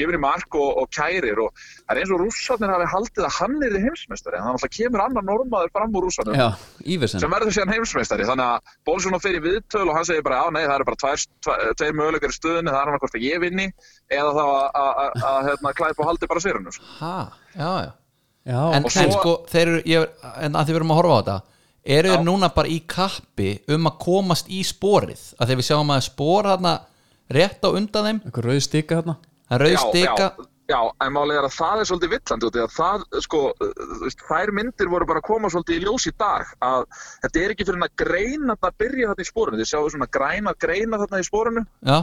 C: kemur í mark og, og kærir og það er eins og rússarnir hafi haldið að hann er í heimsmeistari, þannig að það kemur annar normaður fram úr rússarnum
A: já, Íversen
C: sem verður síðan heimsmeistari þannig að Bólsson fer í viðtöl og hann segir bara já nei það eru bara tvær, tvær, tveir möguleikar í stöðunni það er hann hvort að ég vinni eða þá að- að að- að, hérna, klæpa og haldi bara sérunum sko.
B: ha, já, já
A: já,
B: en,
C: Og svo-
B: en sko, þeir eru ég, en að því við erum að horfa á þetta eru þeir núna bara í kappi um að komast í sporið að þegar við sjáum að spor þarna rétt á undan þeim
A: eitthvað rauð stika þarna
B: hann rauð
C: Já,
B: stika
C: já, já, en málið er að það er svolítið villandi út í að það, sko, þú veist, þær myndir voru bara að koma svolítið í ljós í dag að þetta er ekki fyrir að greina þetta að byrja þarna í spórinu, þið sjáu svona græna greina þarna í spórinu
B: já,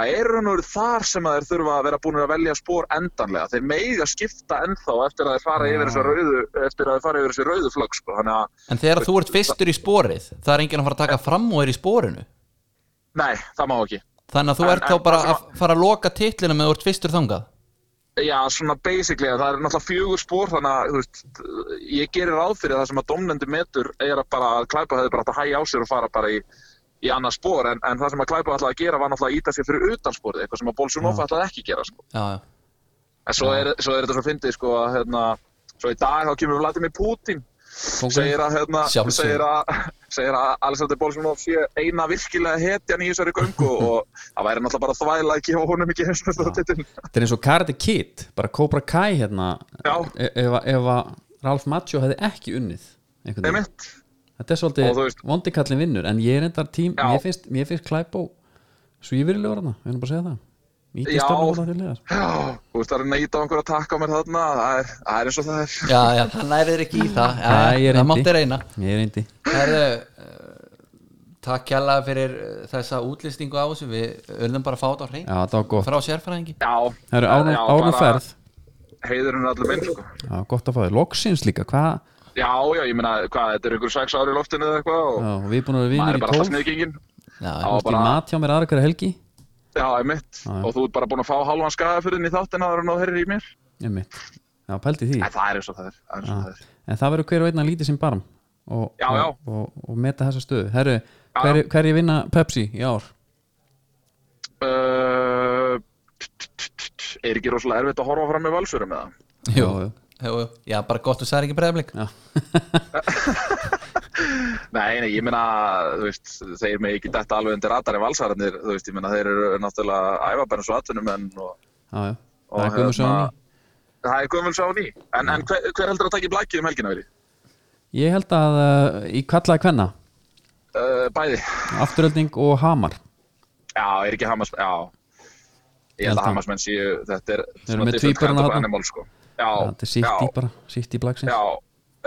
C: Það eru hann verið þar sem að þeir þurfa að vera búin að velja spór endanlega. Þeir mega skipta ennþá eftir að þeir fara yfir þessu rauðu, eftir að þeir fara yfir þessu rauðu flögg, sko. Þannig að,
B: en þegar þú ert fyrstur í sporið það er enginn að fara að taka fram og er í sporinu
C: nei, það má ekki.
B: þannig að þú
C: En-
B: ert
C: en
B: þá bara
C: það sem
B: að fara að loka titlina með þú ert fyrstur þangað
C: Já, svona basically, það er náttúrulega fjögur spór, þannig að, þú veist, ég gerir ráð fyrir að það sem að domnendi metur er að bara að klæpa hefði bara átt að hægja á sér og fara bara í, í annað spór, en, en það sem að klæpa ætlaði að gera var náttúrulega að íta sér fyrir utan spórið, eitthvað sem að Bolsunov ætlaði ekki að gera, sko.
B: já, já,
C: En svo er, svo er þetta svo fyndið sko að hérna, svo í dag þá kemur Vladimir Putin segir að, hérna,
B: Sjálfsögðu.
C: segir að, segir að Alexander Bolsonov sé eina virkilega hetjan í þessari göngu og það væri náttúrulega bara þvæla að gefa honum ekki heimsmyndstáttitin
A: þetta er eins og Karate Kid bara Cobra Kai hérna
C: Já.
A: e- ef, að- ef að Ralf Macchio hefði ekki unnið einhvern veginn.
C: einmitt
A: þetta er
C: Og þú
A: svolítið
C: veist-
A: vondikallin vinnur en ég er endar tím,
C: Já.
A: mér finnst, mér finnst Klæbó svífurilegur hana, við erum bara að segja það
C: Já.
A: ítistarna hóla til legar
C: Já, þú veist það er að neyta á einhverja takk á mér þarna það er, það er eins og það er
B: já, já, hann nærið ekki í það já,
A: Nei, ég reyndi.
B: það mátti reyna
A: ég er eindi
B: Herðu, uh, takk kjalla fyrir uh, þessa útlistingu á þessu við urðum bara að fá þetta á hrein
A: já, það var gott,
B: frá sérfræðingi
C: Já,
A: það eru
C: já,
A: árnum
C: bara
A: ferð
C: Heiðurinn er allir minn sko
A: já, gott að fá þér, loksins líka hvað,
C: Já, já, ég meina, hvað, þetta er ykkur sex ári í loftinu eða eitthvað og
A: já, og við erum búin að vera vinnir í
C: maður er bara alltaf
A: tólf
C: sniðgengin
B: já,
C: Já.
A: Þú ert í
C: bara-
A: mat hjá mér aðra hverja helgi
C: Já, einmitt,
A: Já, já.
C: og þú ert bara búin að fá halvan skagafyrðin í þáttin aðra en þú herrir í mér
A: ég mitt, já, pældi því
C: En það er eins og það er, það er eins og það er
A: en það verður hver og einn að lítið sem barm og,
C: Já,
A: og,
C: já.
A: og, og meta þessa stöðu Herru, hver, hver ég vinna Pepsi í ár
C: Uh, t- t- t- t- er ekki rosalega erfitt að horfa fram með valsurum eða?
B: jú,
A: Já, já.
B: jú, jú. já, bara gott þú sagði ekki breyðablik
A: já,
C: Nei, nei, ég meina, þú veist, þeir með ekki detta alveg undir ratari valsararnir, þú veist, ég meina, þeir eru náttúrulega að æfa bara eins og atvinnumenn og
A: já, já.
C: Og
A: það er komið
C: hérna-
A: svo
C: það er gömul sá ný. En, en hver, hver heldur að taki blækið um helgina verið?
A: ég held að uh, í kallaði kvenna
C: Uh, bæði.
A: afturölding og hamar
C: Já, er ekki Hamas, já. Ég held
A: Held að.
C: að Hamas menn séu, þetta er
A: Þeir eru með
C: different
A: tvíburana
C: kind of
A: þarna.
C: animal, sko. Já,
A: þetta er sitt í
C: já,
A: bara, sitt í blagsins
C: já,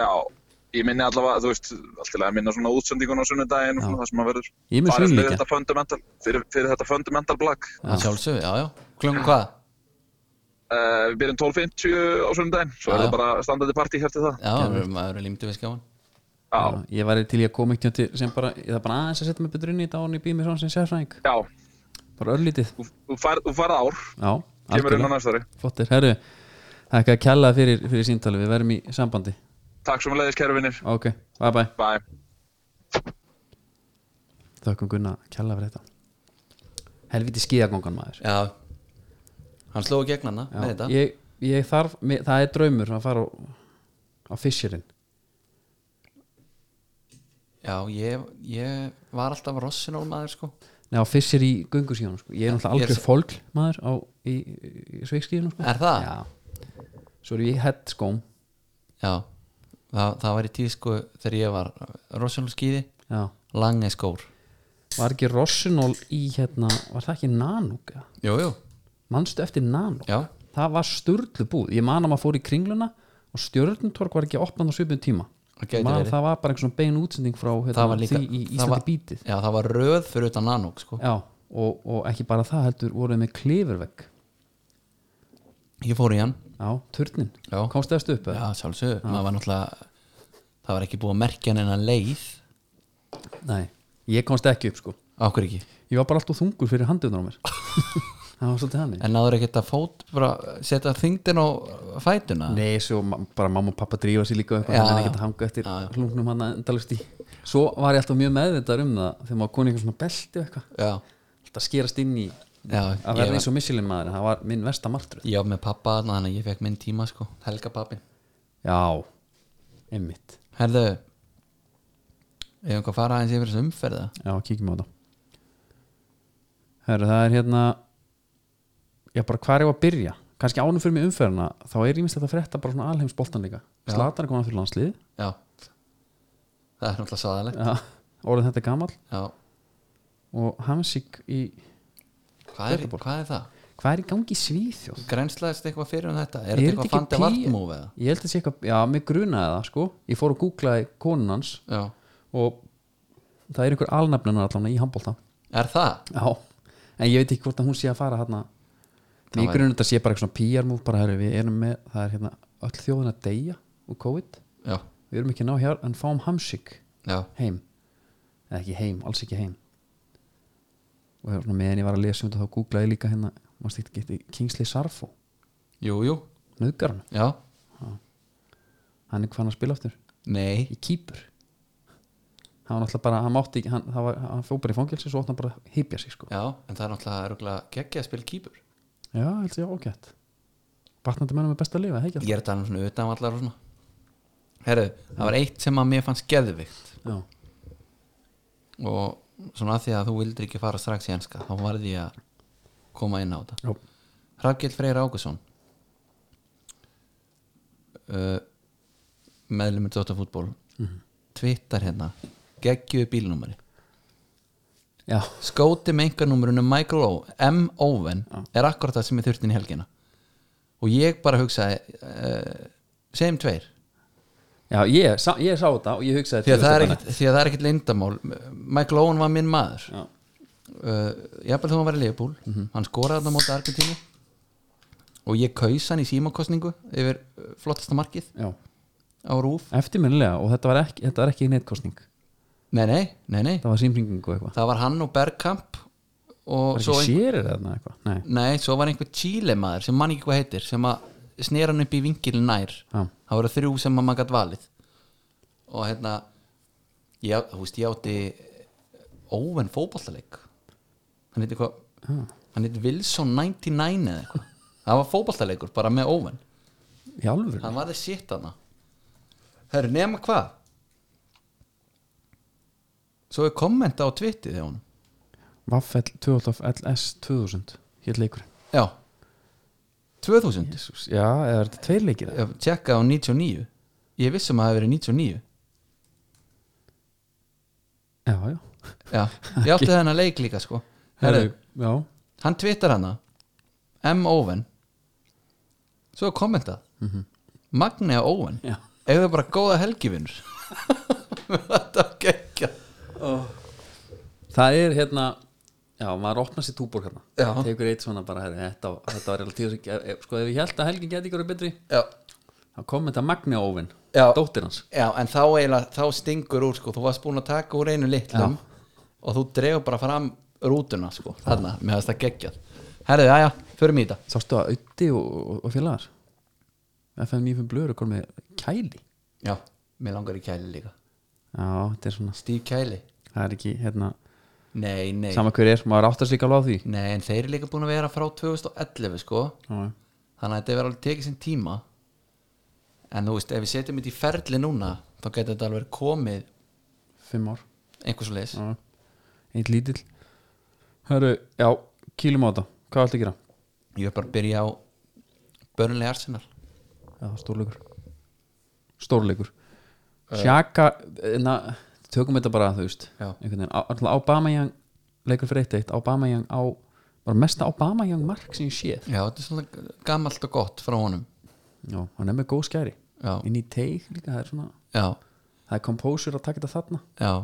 C: já. Ég minni allavega, þú veist, alltaf að minna svona útsendingun á sunnudaginn og svona það sem að verður.
A: Ég er með
C: farið
A: svínlíkja.
C: Fyrir þetta fundamental, fyrir, fyrir þetta fundamental black.
B: sjálfsög, já, já, klungum hvað
C: Uh, við byrjum 12.50 á sunnudaginn, svo
B: Já,
C: er
B: já.
C: það bara standardi partí eftir það.
B: já, maður- maður er límdi við skjáin
C: Já,
A: ég væri til í að koma eitt sem bara, ég þarf bara aðeins að setja mig betur inn í þetta án ég býð mér svona sem sérfræðing
C: já,
A: bara örlítið,
C: þú- þú færð þú færð ár,
A: já,
C: kemur inn á
A: algjörlega
C: næstari.
A: flottir, herru, það er ekki að kjalla fyrir, fyrir síntali, við verðum í sambandi
C: Takk sem að leiðis, kæru vinnir.
A: ok, bye bye,
C: Bye.
A: þökkum Gunna kjalla fyrir þetta helviti skíðagongan maður
B: já, hann sló í gegn hana með þetta
A: ég, ég þarf, mér, það er draumur að fara á, á Fisherinn
B: já, ég, ég var alltaf rossinól maður sko
A: Nei, á Fisher í göngusíðanum sko. ég er náttúrulega
B: Ég er
A: algjör
B: s-
A: fólk maður á, í, í sveikskíðanum sko.
B: Er það?
A: Já. svo er ég í headskóm
B: já, það, það var í tíð sko þegar ég var rossinól skýði
A: Já.
B: langi skór
A: var ekki Rossinol í hérna var það ekki Nanúk eða?
B: jú, jú,
A: manstu eftir Nanúk
B: já,
A: það var störlu búð, ég man að maður fór í kringluna og stjörnutork var ekki opnað á svipum tíma
B: Það gæti
A: Ég man að
B: verið.
A: það var bara einhver svona bein útsending frá
B: það
A: hérna,
B: var líka
A: því í
B: það
A: Íslandi
B: var-
A: bítið
B: já, það var röð fyrir utan nanók sko.
A: Já, og, og ekki bara það heldur voruð með klifurvegg
B: ég fór í hann
A: Já, turnin,
B: Já.
A: komst það upp eða?
B: já, sjálfsög, maður var náttúrulega það var ekki búið að merkja hann en leið
A: Nei, ég komst ekki upp sko
B: okkur ekki,
A: Ég var bara alltaf þungur fyrir handiðunar á mér Það var svolítið hann
B: en náður ekki að fót bara setja þyngdin á fætuna
A: Nei, svo ma- bara mamma og pappa drífa sér líka og eitthvað,
B: Já.
A: hann er ekki að hanga eftir
B: Já, já.
A: hlungnum hann endalust í Svo var ég alltaf mjög meðvitað um það þegar maður koni eitthvað svona belti og eitthvað
B: já,
A: Alltaf skerast inn í
B: já,
A: að
B: ég
A: verða
B: var,
A: eins og missilinn maður en það var minn versta martröð
B: ég var með pappa þarna, þannig að ég fekk minn tíma sko, helga pappi
A: Já, einmitt
B: herðu ég hef einhver að fara aðeins yfir þessu umferða
A: Já, kíkjum á það Herra, það er hérna Já, bara hvað er ég að byrja? Kannski ánum fyrir mig umferðina þá er ímislegt að frétta bara svona alheimsboltan líka
B: Já.
A: Slatan er konar fyrir landslið
B: já, það er náttúrulega sáðalegt
A: Já, orðin þetta er gamall
B: já,
A: og Hamsik í
B: hvað er, hvað er það?
A: Hvað er í gangi í Svíþjóð?
B: grænslaðist eitthvað fyrir um þetta er
A: Er þetta
B: þetta eitthvað
A: ekki
B: fandi
A: pí-
B: vartmóf eða?
A: Ég held að sé eitthvað, já, mig grunaði það sko Ég fór og googlaði konun hans
B: Já.
A: og það er einhver alnafnunar allan í handbolta
B: Er það?
A: Já, en ég veit ekki hvort að hún sé að fara hérna Mér grunum þetta sé bara eitthvað svona PR move bara herri, við erum með, það er hérna öll þjóðin að deyja úr COVID
B: Já,
A: við erum ekki að ná hér en fáum hamsik
B: já,
A: heim eða ekki heim, alls ekki heim og hérna, meðan ég var að lesa um þetta þá googlaði ég líka hérna mást ekki geti Kingsley Sarfo
B: jú, jú,
A: nöðgarn,
B: já,
A: hann er hvað hann að spila aftur
B: nei
A: í kýpur hann var náttúrulega bara, hann mátti ekki hann, það var, hann fór bara í fangelsi svo átt hann bara að hypja sig sko
B: Já, en það er náttúrulega rúglega geggja að spila kýpur
A: Já, held ég ágætt Batnandi mennum er best að lifa, hegja
B: Ég er að tala um svona utanvallar og svona herru, það var eitt sem að mér fannst geðvikt
A: já,
B: og svona að því að þú vildir ekki fara strax í enska þá varði ég að koma inn á þetta
A: já,
B: Rakel Freyr Águsson uh, meðlumir Dóttarfútból mm -hmm. twittar hérna geggjuðu bílnúmeri
A: já,
B: skóti með einhvernúmerinu Michael O M. Owen er akkurat það sem ég þurfti inn í helgina og ég bara hugsaði uh, segjum tveir
A: já ég, sá, ég sá þetta og ég hugsaði
B: því að,
A: til
B: það er
A: þetta
B: ekkit, því að það er ekkit lindamál Michael Owen var minn maður
A: Já. Mhm.
B: uh, jafnvel þó hann var í Leifbúl hann skoraði þarna á móti Argentínu og ég kaus hann í símakostningu yfir uh, flottasta markið
A: bara. já,
B: á Rúf
A: eftirminnilega og þetta var ekki, þetta var ekki netkostning
B: nei, nei, nei, nei,
A: það var símringingu og eitthvað
B: það var hann og Bergkamp og
A: var
B: svo,
A: ekki sérir þarna eitthvað, nei
B: nei, svo var einhver Chile maður sem mann ekki hvað heitir sem að snera hann upp í vingilin nær
A: já,
B: það voru þrjú sem að maður gætt valið og hérna ég, þú veist, ég átti óven fótballtaleik hann heiti hvað hann heiti Wilson 99 eða eitthvað það var fótballtaleikur bara með óven
A: í alvöru
B: hann varði sitt hana herru, nema hvað svo er kommenta á tvittið hjá hann
A: Vaffell 12 LS 2000 hér leikur
B: já 2000
A: Jesus. já, eða er þetta tveir leikir eða?
B: ég tjekka á 99 ég vissum að það hefur verið 99
A: já, já,
B: já, ég átti þennan leik líka sko herru,
A: já,
B: hann twittar hana M. Owen svo er kommentað mm -hmm. Magnea Owen
A: já
B: eða bara góða helgivinnur þetta gekka
A: það er hérna já, maður opnar sér túbor hérna
B: Já.
A: tekur eitt svona bara, herri, þetta, þetta var relatíð sko, ef ég held að helgin geti ykkur betri
B: já,
A: þá kom þetta Magni Óvin
B: Já.
A: dóttir hans
B: já en þá, eiginlega- þá stingur úr sko, þú varst búin að taka úr einu litlum og þú dregur bara fram rútuna sko, þarna, mér finnst það geggjað herriði, já já, förum í þetta
A: sástu að Ötti og, og, og félagar FM 95 Blöður og komið kæli
B: já, mér langar í kæli líka
A: já, þetta er svona
B: Steve Kæli,
A: það er ekki, hérna,
B: nei, nei
A: sama hver er maður áttast líka alveg á því
B: nei, en þeir eru líka búin að vera frá 2011 sko
A: já,
B: þannig að þetta verður alveg tekið sinn tíma en þú veist, ef við setjum þetta í ferli núna þá getur þetta alveg komið
A: fimm ár
B: einhvers og leis
A: já. eitt lítill Hörru, já, kýlum á þetta hvað ætti að gera?
B: ég er bara að byrja á börnlega arsenal
A: Já, stórleikur Eh. Stórleikur Sjaka, na, tökum þetta bara þú veist
B: Já.
A: einhvern veginn, á- alltaf Aubameyang leikur fyrir eitt eitt, Aubameyang á bara mesta Aubameyang mark sem ég séð
B: já, þetta er svona gammalt og gott frá honum
A: Já, hann er með góð skæri
B: já,
A: inn í teig líka, það er svona
B: já,
A: það er composure að taka þetta þarna
B: já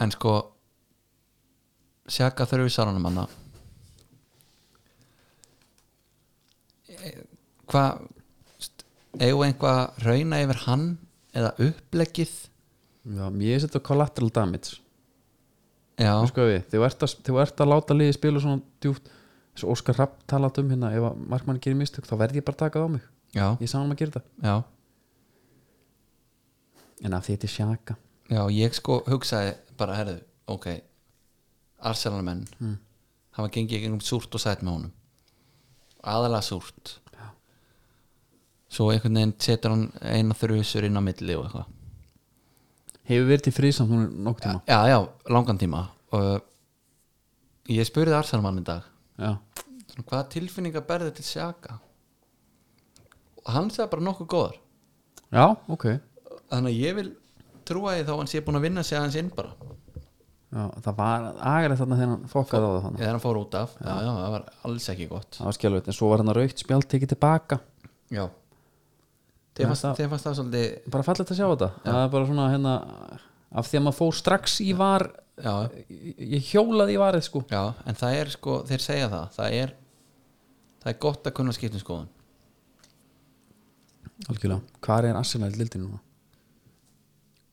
B: en sko sjaka þrjusaranum hana hvað eigum við einhvað að rauna yfir hann eða uppleggið
A: Já, mér er þetta collateral damage
B: já,
A: Þú sko við, þegar þú ert, að- þegar þú ert að láta liðið spila svona djúpt eins og Óskar Rapp talat um hérna ef að markmann gerir mistök þá verð ég bara að taka það á mig
B: já,
A: ég sá hann að gera þetta
B: já
A: en af því þetta er sjaka
B: Já, ég sko hugsaði bara, herðu, ok Arsenalmenn hafa gengið gegnum súrt og sætt með honum aðalega súrt Já. svo einhvern veginn setur hann eina þrjusur inn á milli og eitthvað
A: hefur verið til friðsamt núna nokkuð tíma
B: Já, já, langan tíma og ég spurði Arsenalmann í dag
A: Já,
B: svona, hvaða tilfinninga berði til Sjaka og hann sagði bara nokkuð góðar
A: já ok já,
B: þannig að ég vil trúa því þá hann sé búin að vinna sig aðeins inn bara
A: Það var agarið þarna þegar hann fokkaði á það þannig
B: eða hann fór út af, já, já, það var alls ekki gott
A: Það var skjálfitt en svo var hann að raukt spjald tekið tilbaka
B: Já Þeir
A: Nei,
B: fannst,
A: það-
B: þeir fannst það svolítið
A: Bara fallegt að sjá þetta Það er bara svona hérna af því að maður fór strax í var
B: já,
A: ég ég hjólaði í varið sko
B: já, en það er sko þeir segja það, það er það er gott að kunna skiptum skoðun
A: Algjörlega Hvar er Arsenal lildi núna?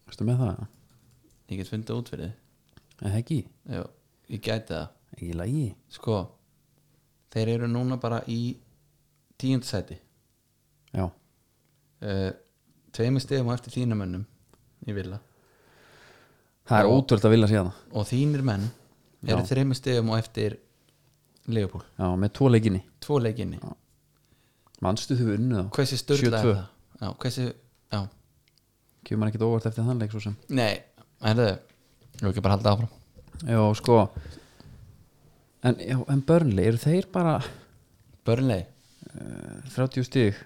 A: Veistu með það?
B: ég get fundið út fyrir
A: Er það ekki?
B: þið já, ég gæti það
A: Ekki í lagi?
B: sko, þeir eru núna bara í tíundsæti
A: Já
B: uh, tveimur stegum á eftir þínamönnum ég vilja
A: Það er ótrúld að vilja sé það
B: og þínir menn eru já. þreimur stegum á eftir Leopold,
A: Já, með tvo leikinni
B: tvo leikinni
A: Manstu þau unnu þá?
B: hversi styrla er
A: 7-2.
B: það já, hversi já,
A: kemur maður ekkert óvart eftir þannleik svo sem
B: nei, herðu Nú ekki bara að halda áfram
A: já sko en, já, en Burnley, eru þeir bara
B: Börnlegi,
A: 30 stig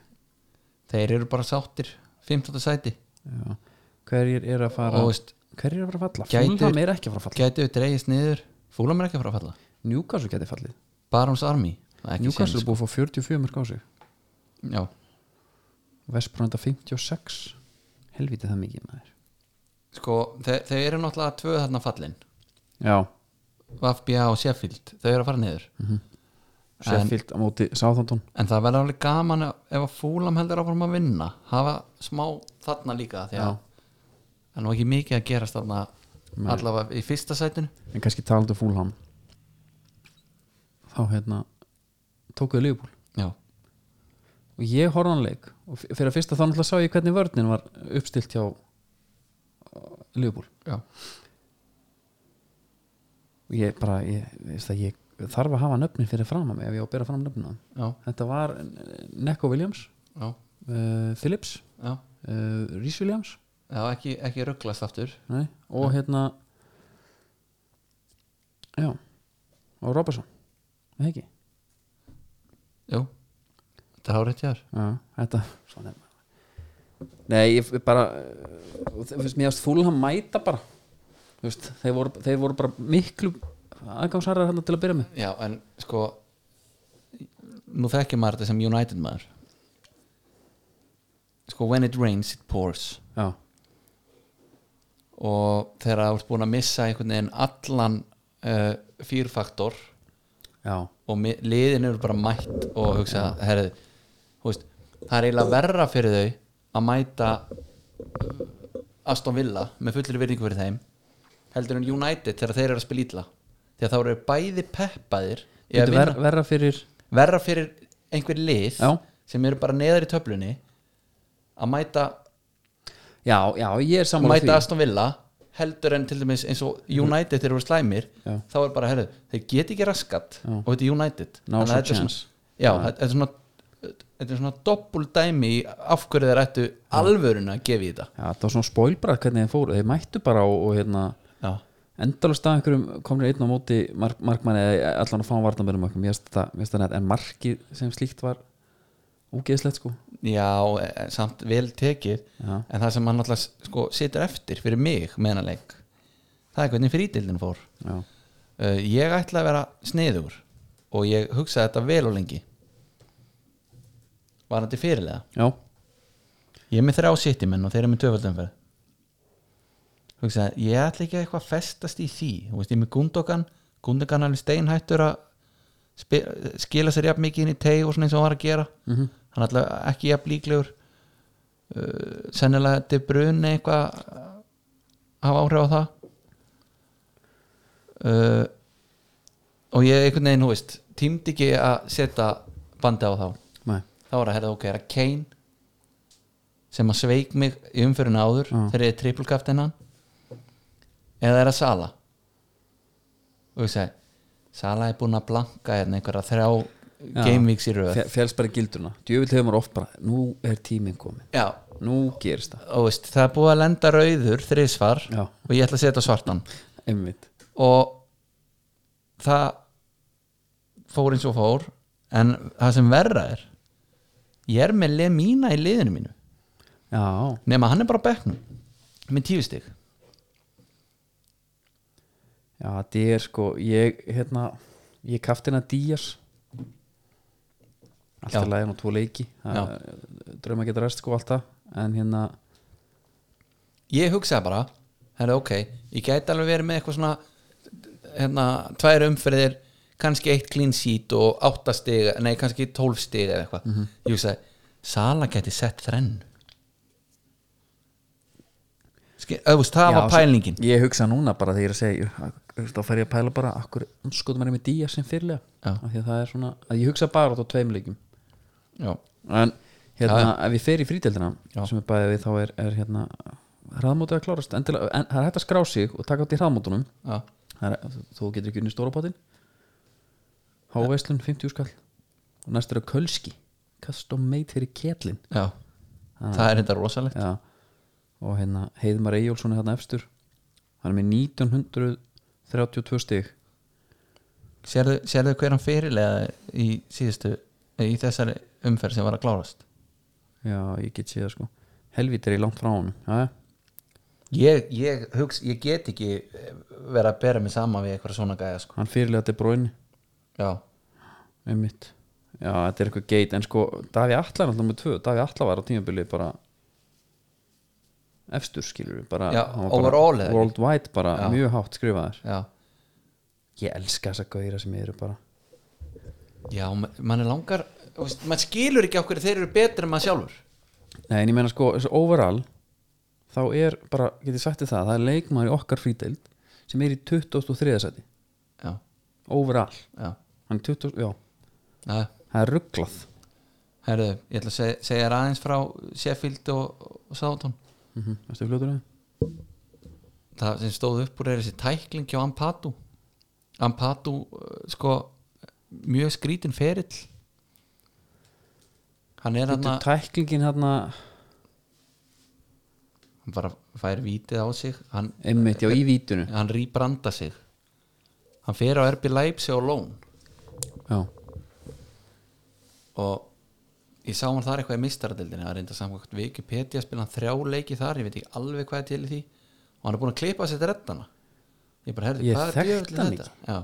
B: þeir eru bara sáttir 15. sæti
A: já. hverjir eru að fara
B: og veist,
A: hverjir eru að fara að falla,
B: Gætir-
A: Fulham er ekki að fara að falla
B: gæti við dreigist niður Fúlam er ekki að fara að falla
A: Newcastle geti fallið
B: Barons Army það er ekki
A: Newcastle
B: séns,
A: er búið að fá 44 mörg á sig
B: sko. Já,
A: Vespranda 56 helviti það mikið maður
B: sko, þe þeir eru náttúrulega tvö þarna fallin
A: já,
B: Vafbja og Sheffield, þau eru að fara niður en,
A: Sheffield á móti Southampton
B: en það verður alveg gaman ef- ef að Fúlam heldur áfram að vinna hafa smá þarna líka því að
A: Já.
B: það er nú ekki mikið að gerast þarna allavega í fyrsta sætinu
A: en kannski talandu Fulham þá hérna tókuðu Liverpool
B: Já,
A: og ég horfði á hann leik og f- fyrir að fyrsta þá náttúrulega sá ég hvernig vörnin var uppstilt hjá uh, Liverpool
B: já,
A: og ég bara, ég, veist það, ég þarf að hafa nöfnin fyrir fram að mig ef ég á að bera fram nöfnin á þeim.
B: já,
A: þetta var eh, Neko Williams
B: já,
A: uh, Phillips,
B: já,
A: uh, Rhys Williams
B: já ekki, ekki rugglast aftur
A: nei, og hérna já og Robertson, er það ekki
B: Jú, þetta er hárétt hjár
A: já, þetta svona er maður. nei, ég f- bara eh, og þe- finnst mér að fúlum mæta bara Þú veist, þeir, voru, þeir voru bara miklu aðgangsarðar hérna til að byrja með
B: Já, en sko nú þekkir maður þetta sem United maður sko when it rains it pours
A: já,
B: og þegar þú ert búin að missa einhvern veginn allan uh, fýrfaktor
A: já,
B: og mi- liðin eru bara mætt og hugsa, herrið veist, það er eiginlega verra fyrir þau að mæta eh, Aston Villa með fullri virðingu fyrir þeim heldur en United þegar þeir eru að spila ítla því að þá eru bæði peppaðir í að
A: Bíddu,
B: vinna-
A: ver, verra fyrir
B: verra fyrir einhver lið
A: Já.
B: sem eru bara neðar í töflunni að mæta,
A: Já, já, ég er sammála
B: mæta
A: því
B: Aston Villa heldur en til dæmis eins og United þeir eru slæmir,
A: Já.
B: þá er bara herðu, þeir get ekki raskat
A: Já.
B: og þetta er United
A: No
B: Þannig
A: such
B: að þetta er
A: chance.
B: svona, já, þetta er svona þetta er svona doppul dæmi í af hverju þeir ættu alvöruna að gefa í þetta
A: Já, það var svona spoilbrað hvernig þeir fóru Þeir mættu bara og, og hérna
B: já,
A: endalust að einhverjum komnir einn á móti mark, markmanni eða allan að fá varnabennum okkur mér finnst þetta- mér finnst þetta nett, en markið sem slíkt var úgeðslegt sko
B: já eh, samt vel tekið
A: Já,
B: en það sem hann alltaf sko, situr eftir fyrir mig meðanleik það er hvernig frítildin fór
A: já,
B: Uh, ég ætla að vera sniður og ég hugsaði þetta vel og lengi var þetta fyrirlega
A: já,
B: ég er með þrjá sittimenn og þeir eru með töfaldumferð hugsaði, ég ætla ekki að eitthvað festast í því Þú veist, ég er með Gundogan Gundogan er alveg steinhættur að spi- skila sér jafn mikið inn í teig og svona eins og hann var að gera
A: Mhm.
B: hann ætla ekki jafn líklegur uh, sennilega til brunni eitthvað að hafa áhrif á það uh, og ég einhvern veginn, hú veist tímdi ekki að setja bandi á þá
A: nei,
B: þá var að herða ok, er að Kane sem að sveik mig í umfyrin áður
A: Já.
B: þegar ég er trippulkaftin hann eða er að Sala og ég segi Sala er búin að blanka hérna einhverja þrjá
A: Já.
B: gamevíks í röð
A: Fe- féllst bara í gildruna djöfull hefur maður oft bara, nú er tíminn komin
B: já,
A: nú gerist það,
B: og veist, það er búið að lenda rauður þriðsvar
A: Já.
B: og ég ætla að setja svartan
A: einmitt
B: og það fór eins og fór en það sem verra er ég er með Lemina í liðinu mínu
A: Já,
B: nema hann er bara á bekknum með tíu stig
A: já, þetta er sko ég, hérna, ég kaftina Días
B: Já.
A: alltaf lægin og tvo leiki
B: Já.
A: Það- drauma geta rest sko alltaf en hérna,
B: ég hugsaði bara, herra ok ég gæti alveg verið með eitthvað svona hérna, tvær umferðir kannski eitt clean sheet og átta stig nei, kannski tólf stig eða eitthvað ég hugsaði, Sala gæti sett þrenn Ski, öfust, eh, það
A: já,
B: var pælingin
A: svo, ég hugsa núna bara þegar ég er að segja jú, þú veist, þá fer ég að pæla bara akkur skoðum maður með Días sem fyrirlega
B: Já.
A: af því að það er svona, að ég hugsa bara út á tveim leikum
B: já,
A: en hérna, ef ég fer í frídeldina
B: Já.
A: sem er bæðið við þá er, er hérna hraðmótið að klárast, endilega, en það er hægt að skrá sig og taka átt í hraðmótunum
B: já,
A: Það er, þú getur ekki unni stóra bátinn Háveslun 50 skall og næst er að Kölski custom made fyrir ketlin
B: já, það er þetta rosalegt
A: Já, og hérna Heiðmar Eyjólfsson er hérna efstur hann er með 1932 stig
B: Sérðu, sérðu hver hann fyrirlega í síðustu í þessari umferð sem var að klárast
A: já, ég get séð það sko helvítir er ég langt frá honum já, já.
B: ég, ég, hugs, ég get ekki eh, vera að bera mig saman við eitthvað svona gæja sko.
A: hann fyrirlega til bróinni
B: já,
A: um mitt já, þetta er eitthvað geit en sko, Daví Atla er alltaf með tvö Daví Atla var á tímabili bara efstur skilur við bara,
B: Já,
A: hann var
B: overall, eða
A: bara
B: ekki?
A: worldwide bara
B: Já.
A: mjög hátt skrifaðir
B: já,
A: ég elska þessa gauðra sem eru bara
B: já ma- mann er langar þú veist, mann skilur ekki okkur þeir eru betri en maður sjálfur
A: Nei, en ég meina sko, þessu overall þá er bara, get ég sagt þér það það er leikmaður í okkar fríteild sem er í 23. seti
B: já,
A: overall,
B: já,
A: hann er 20, já
B: já
A: það er rugglað
B: herðu, ég ætla að segja, segja þér aðeins frá Sheffield og, og Sáton
A: mm -hmm. Veistu fljótur það?
B: það sem stóð upp úr er þessi tækling hjá Ampatu Ampatu, eh, sko mjög skrítin ferill hann er hann
A: Þetta er tæklingin hérna
B: hann bara fær vítið á sig hann,
A: einmitt, já, í vítunu
B: hann rýbranda sig hann fer á RB Leipzig og lón
A: Já,
B: og ég sá hann þar eitthvað í mistaradildinni það er reynda samkvæmt Wikipedia spila hann þrjá leiki þar, ég veit ekki alveg hvað er til í því og hann er búin að klippa sér til reddana ég bara herði,
A: Ég
B: hvað
A: þekkti
B: djöfull
A: hann
B: Já,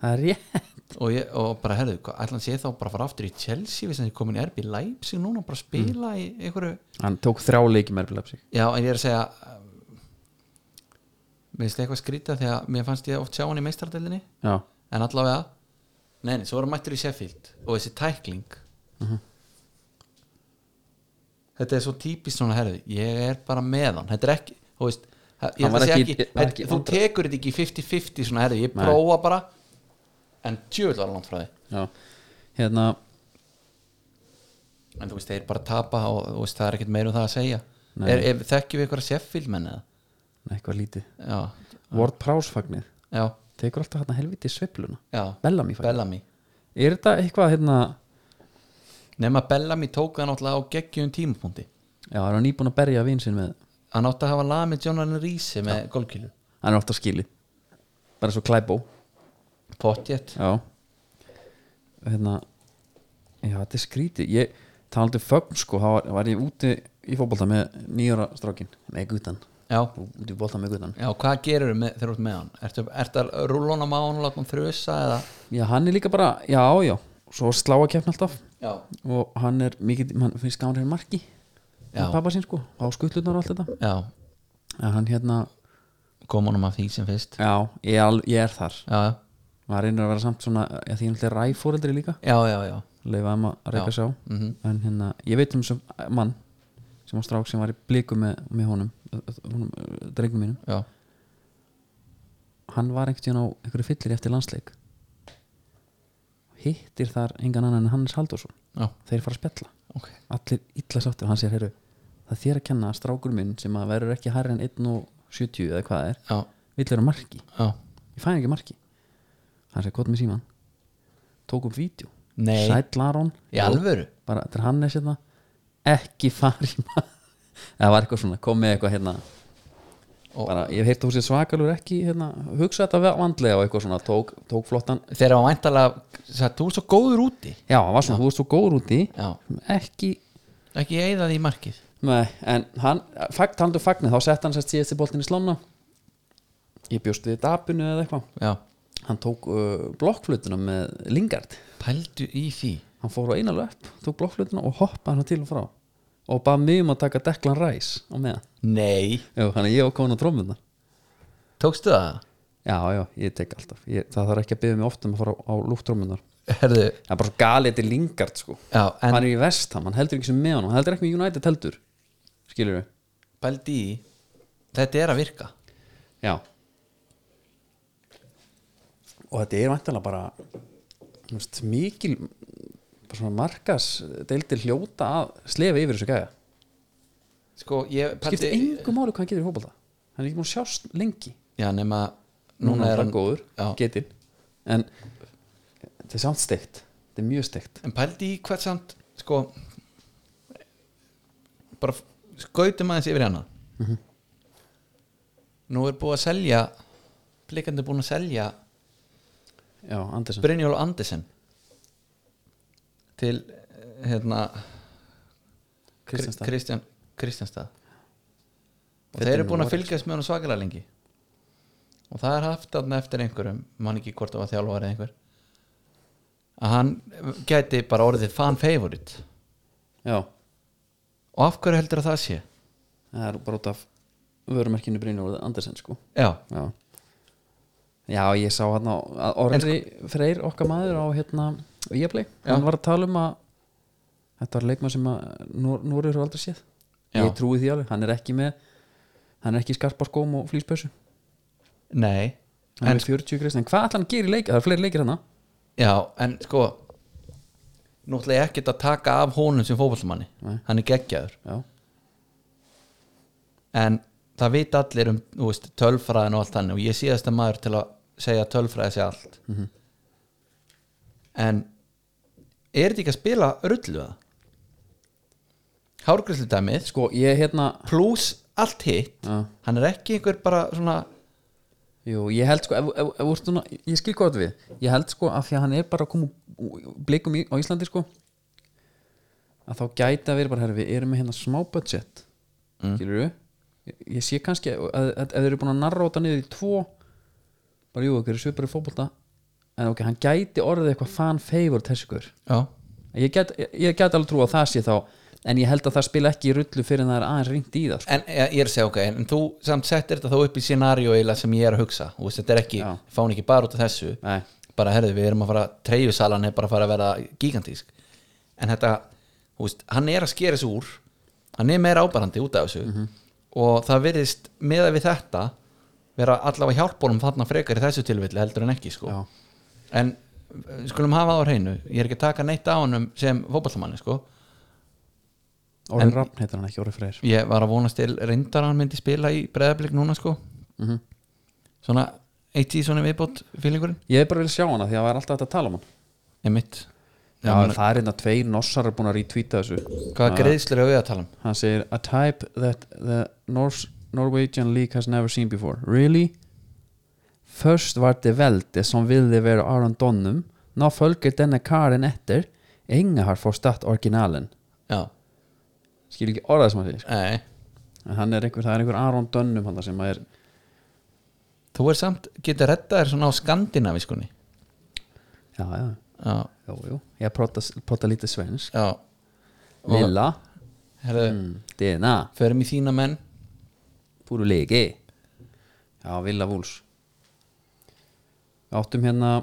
A: það er rétt
B: og, ég, og bara herði, ætla hann sé þá bara að fara aftur í Chelsea við sem er komin í RB Leipzig núna og bara
A: Mm.
B: spila í einhverju
A: Hann tók þrjá leiki með erfiðlefsík
B: Já, en ég er að segja um, mér finnst eitthvað skrýta því að mér fannst ég oft sjá hann í meistaradeildinni
A: Já,
B: en allavega nei, nei, svo var hann mættur í Sheffield og þessi tækling
A: Mhm.
B: þetta er svo típist svona herði, ég er bara með hann þetta er ekki, þú veist það-
A: Hann
B: ég ætla
A: var
B: að segja
A: ekki-
B: ekki,
A: var
B: þetta-
A: ekki
B: þú
A: hundrað-
B: tekur þetta ekki 50-50 svona herði, ég
A: Nei.
B: prófa bara en tjöfull var hann langt frá því
A: já Hérna,
B: en þú veist, þeir bara tapa og þú veist, það er ekkert meira um það að segja
A: Nei.
B: er, er, þekkjum við eitthvað Sheffield menn eða
A: nei, eitthvað lítið
B: já,
A: Ward Prásfagnir,
B: já,
A: tekur alltaf hérna helviti sveifluna
B: já,
A: Bellamy fagnir
B: Bellamy
A: Er þetta eitthvað hérna
B: nema Bellamy tók hann alltaf á geggjum tímapunkti
A: Já, er hann nýbúin að berja vinsinn með
B: hann átti að hafa lag með Jonathan Rhys með golfkýlu
A: hann er ofta skili bara svo klæbó
B: Pottjett
A: já hérna já þetta er skrítið ég talandi um fögn sko þá var, var ég úti í fótbolta með nýjara strákin með gutan
B: Já,
A: úti í fótbolta með gutan
B: já hvað gerir með, þegar þú ert með hann? Ertu, ertu að rúla hann á mánu og láta hann þrjusa eða?
A: já hann er líka bara já já svo slá að kefna alltaf
B: Já,
A: og hann er mikið hann finnst gaman hér marki
B: Já.
A: með pappa sín sko á skuttlunar og allt þetta
B: já,
A: en hann hérna
B: koma hann af því sem fyrst
A: já ég er, al- ég er þar
B: Já,
A: maður reynir að vera samt svona já, því hann er ræfóreldri líka
B: já, já, já
A: leifaðum að reyka
B: Já,
A: sjá
B: mhm.
A: en hérna, ég veit um sem mann sem á strák sem var í blíku með, með honum, eh, honum eh, drengnum mínum
B: Já,
A: hann var einhvern tíðan á einhverju fyllir eftir landsleik hittir þar engan annan en Hannes Halldórsson
B: já,
A: þeir fara að spjalla,
B: ok
A: allir illa sáttir og hann sér, heyrðu, það er þér að kenna að strákur minn sem að verður ekki hærri en 1.70 eða hvað það er,
B: Já,
A: vill vera marki
B: já,
A: ég fæ ekki marki hann sér, gott með síman tók upp vídeo,
B: Nei.
A: sætlarón
B: í alvöru
A: bara, þetta er Hannes hérna ekki fari það var eitthvað svona, kom með eitthvað hérna
B: Og-
A: bara, ég hef heyrt að hún sé svakalur ekki hérna, hugsa þetta vel- vandlega og eitthvað svona, tók, tók flottan
B: Þegar hann væntalega, sagði, þú ert svo góður úti
A: já, hann var svona, þú ert svo góður úti
B: Já,
A: ekki,
B: ekki eigða því í markið
A: nei, en hann fag, talandu fagnir, þá sett hann sérst síðast í boltin í slána ég bjóst við dapinu eða eitthvað
B: Já,
A: hann tók uh, blokkflutuna með Lingard
B: pældu í því
A: hann fór á einalega upp, tók blokkflutuna og hoppaði hann til og frá og bað mig um að taka deklan ræs á meðan
B: Nei,
A: Jú, þannig að ég var komin á trómmundan
B: tókstu það?
A: Já, já, ég tek alltaf ég, Það þarf ekki að byggja mig oft um að fara á, á lúftrómmundan
B: Herðu,
A: Það er bara svo galið til Lingard sko
B: já, en
A: Hann er í vestam, hann heldur ekki sem með honum Hann heldur ekki með United heldur Skilur við?
B: pældu í því. Þetta er að virka
A: Já Og þetta er vantanlega bara þú veist, mikil bara svona markas deildir hljóta að slefa yfir þessu gæja
B: Sko, ég
A: Skipt engu máli hvað hann getur í fótbolta Hann er ekki múin að sjást lengi
B: Já, nema,
A: Núna er hann góður,
B: Já.
A: getinn En þetta er samt steikt Þetta er mjög steikt
B: En pældi í hvað samt sko bara f- skautum aðeins yfir hana
A: Mhm.
B: nú er búið að selja blikandi búin að selja
A: Mhm. já, Andersen
B: Brynjólu Andersen til eh, hérna
A: Kristjánstad.
B: Kristján, Kristjánstað og
A: Þetta
B: þeir
A: er
B: eru búin að
A: Noregs.
B: fylgjast með hann svakalega lengi og það er haft þarna eftir einhverjum mann ekki hvort það var þjálfari eða einhver að hann gæti bara orðið fan favorite
A: já,
B: og af hverju heldur að það sé
A: það er bara út af vörumerkinu Brynjóð Andersen sko
B: já,
A: já já, ég sá hann á Orri Freyr okkar maður á hérna Íaplay,
B: Já.
A: hann var að tala um að þetta var leikmann sem að Núrið eru aldrei séð
B: Já.
A: ég trúi því alveg, hann er ekki með hann er ekki í skarparskóm og flýspössu
B: nei
A: hann er með 40 greiðsna, en hvað ætla hann að gera í leik það er fleiri leikir hérna. hann
B: já, en sko nú ætla ég ekkert að taka af honum sem fótballmanni,
A: Nei.
B: hann er geggjaður
A: já,
B: en það veit allir um þú veist, tölfræðin og allt þannig og ég er síðasta maður til að segja að tölfræði sé allt en er þetta ekki að spila rullu það? Hárgræslu dæmið
A: sko, ég hérna
B: pluss allt hitt
A: Já.
B: hann er ekki einhver bara svona
A: Jú, ég held sko, ef, ef, ef, ef, svona, ég skil hvað þetta við ég held sko að því að hann er bara að koma úr- úr blikum í, á Íslandi sko að þá gæti að vera bara herri, við erum með hérna smá budget mm. skilur við ég, ég sé kannski að, að, að ef þeir eru búin að narra þetta niður í tvo bara jú, okkur er svipar í fótbolta en ok, hann gæti orðið eitthvað fan favorite þessi ykkur
B: já,
A: ég gæti gæt alveg trú að það sé þá en ég held að það spila ekki í rullu fyrir en það er aðeins ringt í það sko.
B: en ég ég er að segja ok en þú samt settir þetta þá upp í scenario eiginlega sem ég er að hugsa Þú veist, þetta er ekki,
A: Já.
B: fáin ekki bara út af þessu
A: Nei,
B: bara herðu við erum að fara treyjusalan er bara að fara að vera gigantísk en þetta, þú veist, hann er að skera þessu úr hann er meira ábarandi út af þessu
A: Mhm.
B: og það virðist meða við þetta vera allavega hjálpunum þarna frekar í þessu tilvilli heldur en ekki sko.
A: já,
B: en eh, skulum hafa það á hreinu ég er ekki að taka neitt á honum sem fótballmanni sko. En-
A: Orðin Rappn heitir hann ekki, Orðin Freyr
B: ég var að vonast til reyndar að hann myndi spila í breðablik núna sko.
A: Mhm.
B: svona eitt í svona viðbót fylgurinn,
A: Ég hef bara vilja sjá hana því að það var alltaf hægt að tala um hann
B: emitt
A: Já, það er hérna tveir norsar búin að retweeta þessu
B: Hvaða
A: Ah.
B: greiðslur er við að tala um?
A: Hann segir A type that the Norse, Norwegian league has never seen before Really? Först var det Välte som ville vara Aron Donnum Nå följer denna karen efter Inga har forstått originalen
B: Já,
A: Skil ekki orðað sem hann segir sko.
B: nei
A: En hann er einhver, það er einhver Aron Donnum hann sem er
B: Þú er samt, getur rettað þér svona á skandinaviskunni
A: Já, já,
B: Já,
A: jú, jú Ég prata, prata lítið svensk
B: já
A: Lilla
B: Herðu,
A: mm, Dina
B: förum í þína menn
A: Púru leiki Já, Villa Vúls Áttum hérna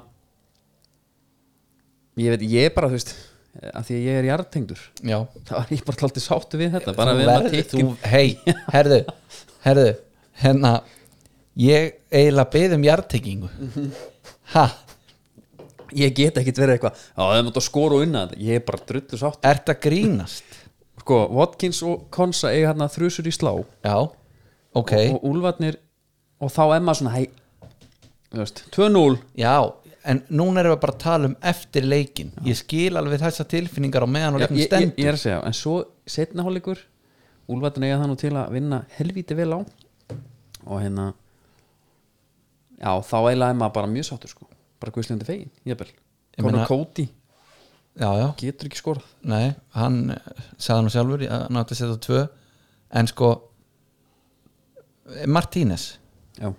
A: Ég veit, ég er bara, þú veist að því að ég er jarðtengdur
B: Já
A: þá er ég bara alltaf sáttu við þetta bara
B: Þú
A: við
B: verður- þú, Hei, herðu, herðu Hérna, ég eiginlega beðum jarðtekingu Ha,
A: ég get ekkit verið eitthvað já, það er mátt að skora og unna þetta ég er bara drullu sátt
B: ert að grínast
A: sko, Watkins og Konsa eiga hérna þrjusur í slá
B: Já, ok
A: og Úlfarnir og þá er maður svona hei, þú veist, 2-0
B: Já, en núna erum við bara að tala um eftir leikin Ég skil alveg þessa tilfinningar á meðan og
A: Já,
B: leikin
A: ég, ég,
B: stendur
A: ég er að segja, en svo setna hálfleikur Úlfartin eiga það nú til að vinna helvíti vel á og hérna já, þá eiginlega er maður bara mjög sáttur sko bara guðslegandi fegin, ég bel
B: Ég
A: Conor
B: meina-
A: Cody
B: Já, já
A: getur ekki skorað
B: Nei, hann eh, sagði nú sjálfur að hann átti að setja tvö en sko eh, Martínez,
A: já,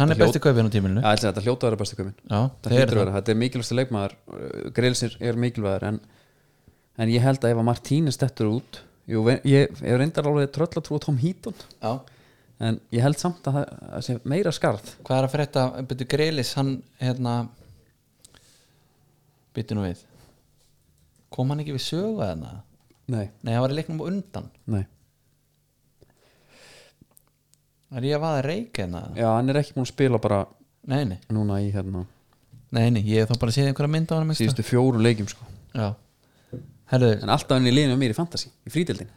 B: hann er
A: Hljót-
B: besti kaupin á tímilinu
A: já ætli, þetta hljóta að vera bestu komin
B: Já,
A: það hljóta að vera, þetta er mikilvægsta leikmaður greilsir er mikilvægur en, en ég held að ef að Martínez dettur út jú, ve- ég ég er reyndar alveg tröll að trúa Tom Heaton
B: Já.
A: en ég held samt að það að sé meira skarð
B: Hvað er að frétta, byrju Greilis hann hérna byrju nú við kom hann ekki við sögu að hana
A: nei,
B: Nei, hann var í leiknum á undan
A: nei
B: Það er ég að vaða reika hérna
A: Já, hann er ekki búin að spila bara
B: Nei, nei,
A: núna í hérna
B: nei, nei, ég hef þá bara séð einhverja mynd á hann
A: síðustu fjóru leikjum sko
B: Já Herðu,
A: en alltaf hann er liðinu mér í fantasy, í frídeldin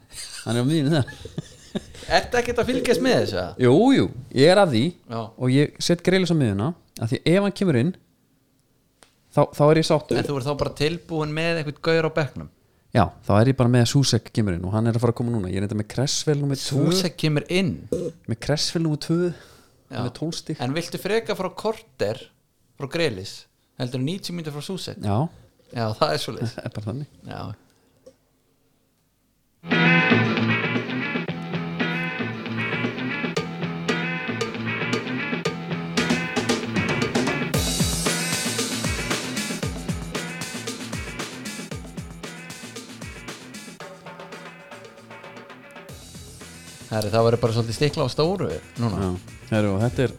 A: hann er á miðinu þar
B: ertu ekkert að fylgjast með þessu? eða?
A: Jú, jú, ég er að því
B: Já.
A: og ég set greilis á miðuna af því ef hann kemur inn þá, þá er ég sáttur
B: En þú er þá bara tilbúin með einhvern gaur á bekknum
A: já, þá er ég bara með Susek kemurinn og hann er að fara að koma núna ég er enda með Cressvel nummer 2
B: Súsek kemur inn
A: með Cressvel nummer 2
B: Já.
A: með 12 stík
B: En viltu freka frá korter frá Grelis heldur en 90 mínútur frá Súsek
A: já,
B: Já, það er svo
A: það er bara þannig
B: Já Herri, það verður bara svolítið stikla á stóru núna
A: já. Heru, þetta er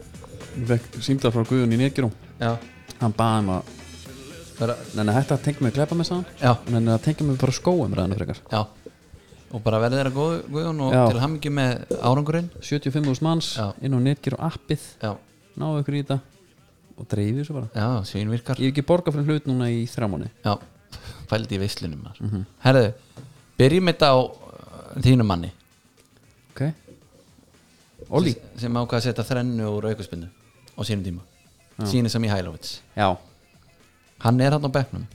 A: vekk símdar frá Guðun í Nýrgjurum
B: Já,
A: hann baði um að
B: bara,
A: nenni að hætta að tengja mig að glepa með sann
B: já,
A: nenni að tengja mig bara skóum ræðinu frekar
B: já. Og bara verður þeirra góð, Guðjón og
A: Já.
B: til hamingju með árangurinn
A: 75.000 manns
B: Já.
A: inn á Nýrgjur og appið
B: Já,
A: náðu ykkur í þetta og dreifir þessu bara
B: já, svínvirkar
A: ég hef ekki borgað fyrir hlut núna í þrjámanni
B: Já, fældi í veislunum maður
A: Mhm.
B: Herðu, byrjum þetta á uh, þínum manni
A: ok Olli
B: sem, sem ákvað að setja þrennu úr aukaspindu á sínum tíma Sýnir sem í Hælóvits
A: já,
B: Hann er hann á bekknum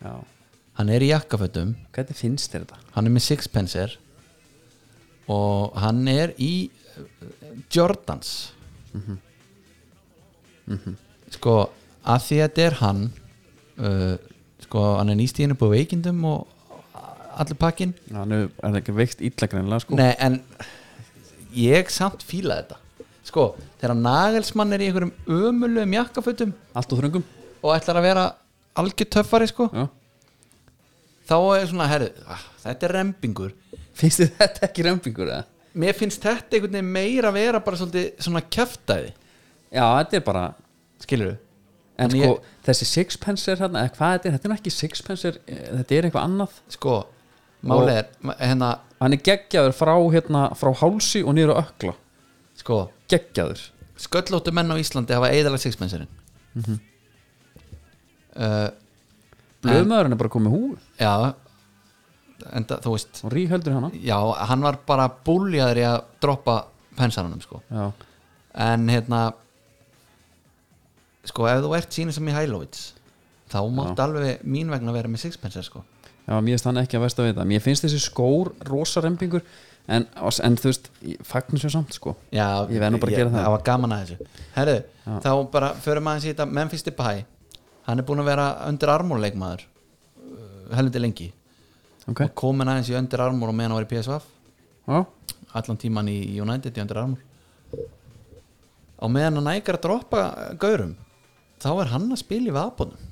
A: já
B: Hann er í jakkafötum
A: hvernig finnst þér þetta?
B: Hann er með sixpencer og hann er í uh, Jordans Sko, að því að þetta er hann uh, sko, hann er nýstíðinu på veikindum og allir pakkin
A: Já, nú er það ekki veikt illa greinlega sko
B: Nei, en ég samt fíla þetta Sko, þegar nagelsmann er í einhverjum ömulegum jakkafötum
A: allt og þröngum
B: og ætlar að vera algjör töffari, sko
A: já.
B: þá er svona, herru, ah, þetta er rempingur
A: finnst þér þetta ekki rempingur eða?
B: Mér finnst þetta einhvern veginn meira að vera bara svolítið svona kjaftaði
A: já, þetta er bara
B: Skilur við?
A: en
B: En
A: sko,
B: ég-
A: þessi sixpencer hérna, eða hvað þetta er, þetta er nú ekki sixpencer eh, þetta er eitthvað annað
B: Sko, málið er, ma- hérna,
A: hann er geggjaður frá hérna, frá hálsi og niður á ökla
B: sko
A: geggjaður
B: Sköllóttu menn á Íslandi hafa eðalega sixpenserinn mm
A: blöðmaðurinn er bara komið hú
B: Já En það, þú veist
A: og ríhöldur hana
B: Já, hann var bara búljaður í að droppa pensaranum sko
A: já,
B: en hérna sko ef þú ert sína sem í Hælóvits þá mátt alveg mín vegna vera með sixpencer sko
A: já mér finnst hann ekki að versta við þetta mér finnst þessi skór rosa rempingur en, en þú veist, fagnir sér samt sko
B: Já,
A: Ég verð nú bara að gera það.
B: var gaman að þessu Herðu, þá bara förum aðeins í þetta Memphis Depay, hann er búin að vera undir armúr leikmaður uh, helviti lengi
A: ok,
B: og komin aðeins í undir armúr og meðan hann var í PSV
A: já,
B: allan tíman í United í Under Armour og meðan hann ægir að droppa eh, gaurum þá er hann að spila í vapunum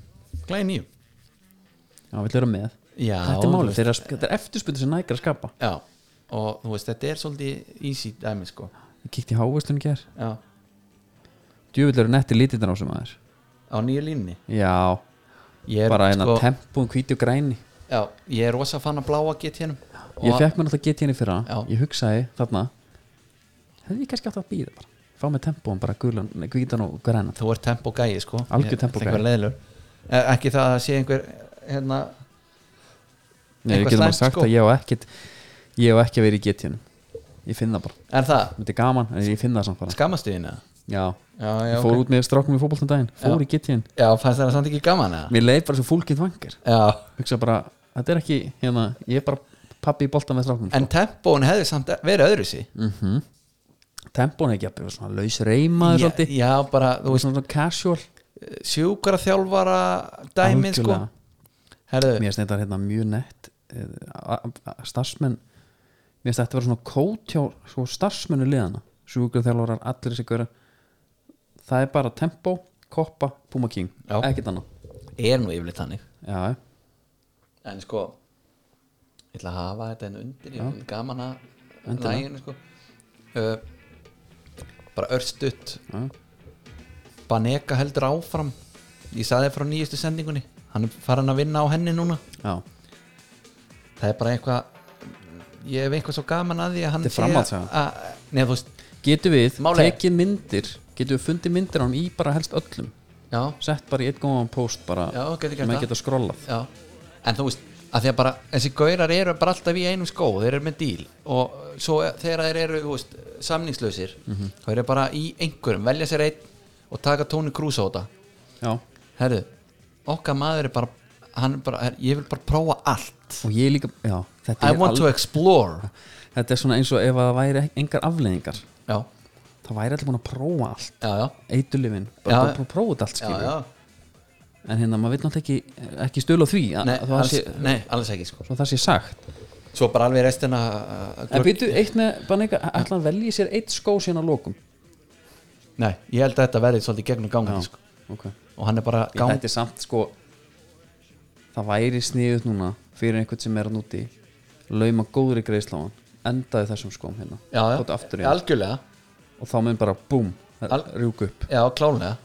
B: glæði nýjum
A: já, vill vera með
B: Já,
A: þetta er
B: þú
A: málið, þeir eru að- þetta er eftirspunni sem nægir að skapa
B: já, og þú veist þetta er svolítið easy dæmi sko
A: ég kíkti í hávistun hér
B: já.
A: djúvill eru netti lítindan á sem aðeins
B: á nýju línni
A: já,
B: ég er,
A: bara hérna
B: sko,
A: sko... tempun, hvíti og græni
B: já, ég er rosa fann að bláa get hérna
A: ég fekk mér náttúrulega GT henni fyrra
B: Já.
A: ég hugsaði þarna hefði ég kannski átt að býða bara fá með tempun, bara gulan, hvítan og grænan
B: þú er tempo gæi sko
A: Algjör
B: Ég-
A: tempógæi.
B: ætla ekki að vera leiðinlegur. Eh, ekki það að sé einhver hérna,
A: Nei, við
B: Eitthvað
A: getum bara
B: slæmt,
A: sagt
B: sko.
A: að ég hef ekkit ég hef ekki verið í GT henni ég finn það bara,
B: er það
A: þetta er gaman en ég finn það samt bara
B: skammastuðina
A: já,
B: já, já,
A: ég
B: ok.
A: fór út með strákum í fótboltan daginn fór
B: Já.
A: í GT henni,
B: já, fannst það samt ekki gaman eða?
A: mér leið bara svo fólkið vangar
B: já,
A: hugsa bara, þetta er ekki hérna, ég er bara pappi í boltan með strákum
B: en tempón hefði samt verið öðru sí
A: mm -hmm. tempun ekki, jafnvel, svona laus reymaður
B: já,
A: svolítið,
B: já, bara, þú veist,
A: svona svona casual
B: sjúkara þjálfara dæmið, sko
A: Algjörlega.
B: Herðu,
A: mér finnst þetta hérna mjög nett starfsmenn mér finnst þetta vera svona kót hjá svo starfsmennu liðana sjúkurþjálfarar, allir þessi gera það er bara tempo, koppa, puma king
B: Já.
A: ekkert annað
B: er nú yfirleitt þannig
A: já,
B: en sko ég ætla að hafa þetta en undir ég er gaman að
A: Endilega.
B: læginu, sko uh, bara örstutt
A: já,
B: Baneka heldur áfram ég saði frá nýjustu sendingunni hann er farin að vinna á henni núna
A: já.
B: það er bara eitthvað ég hef eitthvað svo gaman að því að hann
A: Þetta er framhaldssaga.
B: neða þú veist
A: getum við
B: Málið er-
A: tekið myndir getum við fundið myndir á hann í bara helst öllum
B: já,
A: sett bara í einn góðan post bara
B: Já, getur gert
A: sem
B: það.
A: að geta skrollað
B: já. en þú veist að því að bara þessi gaurar eru bara alltaf í einum skó þeir eru með díl og uh, svo er- þegar þeir eru þú veist, samningslausir þá eru þeir bara í einhverjum velja sér einn og taka tóni krúsóta
A: já,
B: herru, okkar maður er bara hann bara, her, ég vil bara prófa allt
A: og ég líka, já þetta
B: I
A: er,
B: want to
A: al,
B: explore
A: þetta er svona eins og ef að það væri ek- engar afleiðingar
B: já,
A: það væri allir búin að prófa allt
B: já, já,
A: eitulifin,
B: Já.
A: bara búin að prófa þetta allt
B: já,
A: skilur
B: já.
A: en hérna maður veit náttúrulega ekki, ekki stölu á því að,
B: Nei,
A: að það
B: alls,
A: sé,
B: nei, alls ekki sko.
A: svo það sé sagt
B: svo bara alveg restina uh,
A: en
B: glugg-
A: býtu eitt með, bara neka, ætla hann velji sér eitt skó síðan á lokum
B: nei, ég held að þetta verði svolítið gegnum gangandi sko.
A: okay.
B: og hann er bara
A: Ég,
B: gang
A: þetta er samt sko það væri sniðut núna fyrir einhvern sem er að núti lauma góðri greiðsla á hann endaði þessum skóm hérna
B: já, já,
A: Fóttu aftur í hann.
B: algjörlega
A: og þá mun bara búm
B: Al-
A: rjúk upp
B: já, klálega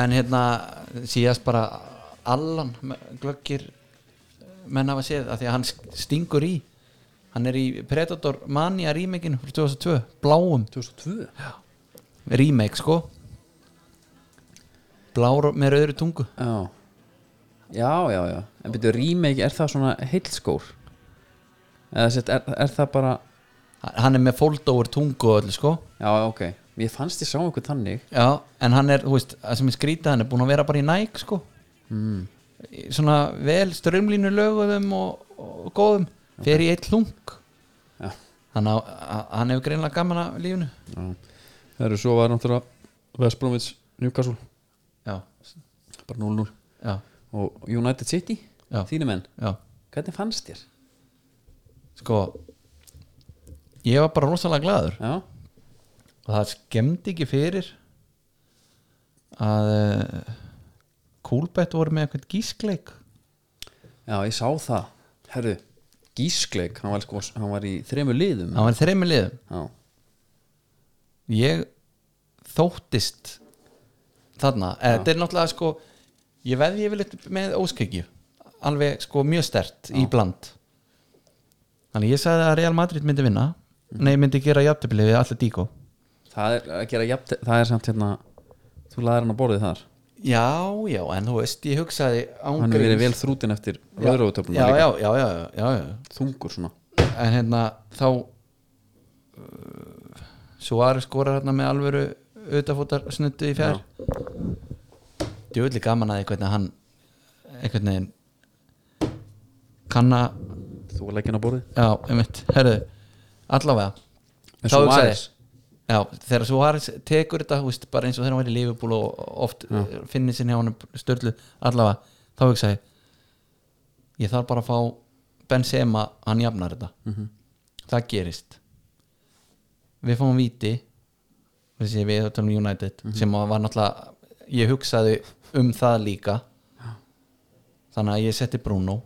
B: en hérna síðast bara allan me- glöggir menn hafa séð að því að hann sk- stingur í hann er í Predator Mania remake frá 2002, bláum
A: 2002 já,
B: remake sko blár og- með rauðri tungu
A: já, já, já. en byrju remake, er það svona heilskór eða sett, er, er það bara
B: hann er með foldóver tungu og öllu sko
A: já, ok, ég fannst ég sá einhvern þannig
B: Já, en hann er, þú veist, það sem ég skrýta hann er búin að vera bara í næk, sko
A: Hmm.
B: mm. svona vel strömlínu löguðum og, og góðum fer í eitt hlung
A: Já.
B: hann, á, a- hann hefur greinlega gaman af lífinu
A: já. það eru svo var náttúrulega Vestbrómits Newcastle
B: Já,
A: bara 0-0
B: já,
A: og United City,
B: Já.
A: þínu menn
B: já
A: hvernig fannst þér?
B: sko ég var bara rosalega glaður
A: Já,
B: og það skemmdi ekki fyrir að uh, Kúlbett voru með eitthvað gískleik
A: já ég sá það Herðu, Gískleik hann var, sko, hann var í þremur liðum
B: hann var í þreymur liðum
A: Já,
B: ég þóttist þarna, eða þetta er náttúrulega sko ég veði yfirleitt með óskegju alveg sko mjög stert í bland þannig ég sagði að Real Madrid myndi vinna nei myndi gera jafntöfli við allir díko
A: það er að gera jafn það er samt hérna, þú laðir hann á borðið þar
B: já, já, en þú veist, ég hugsaði án
A: hann er verið
B: gríns-
A: vel þrútin eftir
B: Já,
A: rauðrófutöfnum
B: já, já, já, já, já, já
A: þungur svona
B: en hérna þá uh, Suari skorar hérna með alvöru auðvitafótar snuttu í fjær djúvillig gaman að einhvern veginn hann einhvern veginn kann að
A: þú var leggin á borðið
B: já, einmitt, herðu, allavega
A: En
B: Þá hugsaði
A: Suárez?
B: ég, já, þegar Suárez tekur þetta, hú veist, bara eins og þegar hann væri í Liverpool og oft finnir sinni á hann störlu, allavega, þá hugsaði ég, ég þarf bara að fá Benzema, hann jafnar þetta
A: Mhm.
B: það gerist við fáum víti þessi við tölum United
A: Mhm.
B: sem að var náttúrulega ég hugsaði um það líka þannig að ég setti Bruno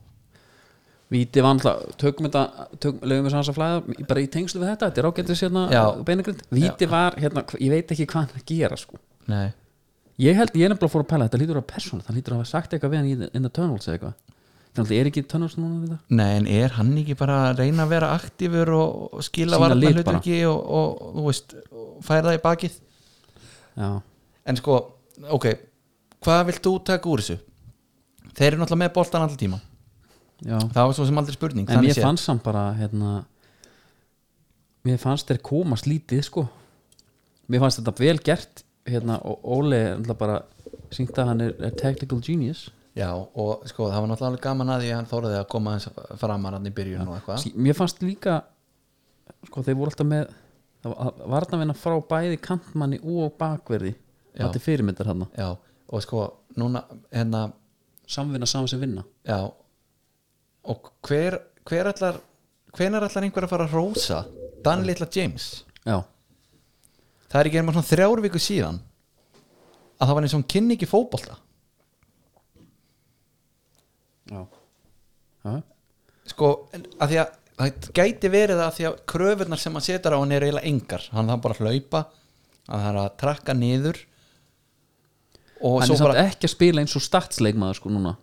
A: Víti var alltaf, tökum þetta tökum, lögum við sanns að flæða, í- bara í tengslu við þetta þetta er ágættis hérna
B: Já.
A: beinagrind Víti var, hérna, hv- ég veit ekki hvað hann er að gera sko
B: nei,
A: Ég held, ég er nefnilega fór að pæla, þetta lítur að persónu það lítur að hafa sagt eitthvað við hann í- in the tunnels eða eitthvað Þannig er ekki tunnels núna við það?
B: nei, en er hann ekki bara að reyna að vera aktífur og, og skila
A: Sýna
B: varna
A: lit bara.
B: hluturki og, og, þú veist, og færa það í bakið
A: Já,
B: en sko, ok hvað vilt þú taka úr þessu þeir eru náttúrulega með boltan alltaf tíma
A: já
B: það var svo sem aldrei spurning
A: En
B: þannig
A: mér
B: séð.
A: fannst hann bara hérna, Mér fannst þeir komast lítið sko Mér fannst þetta vel gert hérna, og Óli er náttúrulega bara syngt að hann er, er technical genius
B: Já, og sko, það var náttúrulega alveg gaman að því að hann þóraði að koma hans framar hann í byrjun og eitthvað
A: Sí, Mér fannst líka sko þeir voru alltaf með það var að vinna frá bæði kantmanni og bakverði
B: Já.
A: Þetta er fyrirmyndar hann
B: Já, og sko, núna, hérna,
A: Samvinna saman sem vinna
B: já og hver, hver allar hvenar allar einhver að fara að rósa Dan Little James
A: Já,
B: það er ekki einhver svona þrjár viku síðan að það var eins og hann kynni ekki fótbolta
A: já. Ha?
B: sko, en að því að það gæti verið að því að kröfurnar sem hann setur á hann er eiginlega engar, hann þarf bara að hlaupa hann þarf að trakka niður og
A: Hann
B: svo
A: er samt
B: bara,
A: ekki að spila eins og statsleikmaður sko núna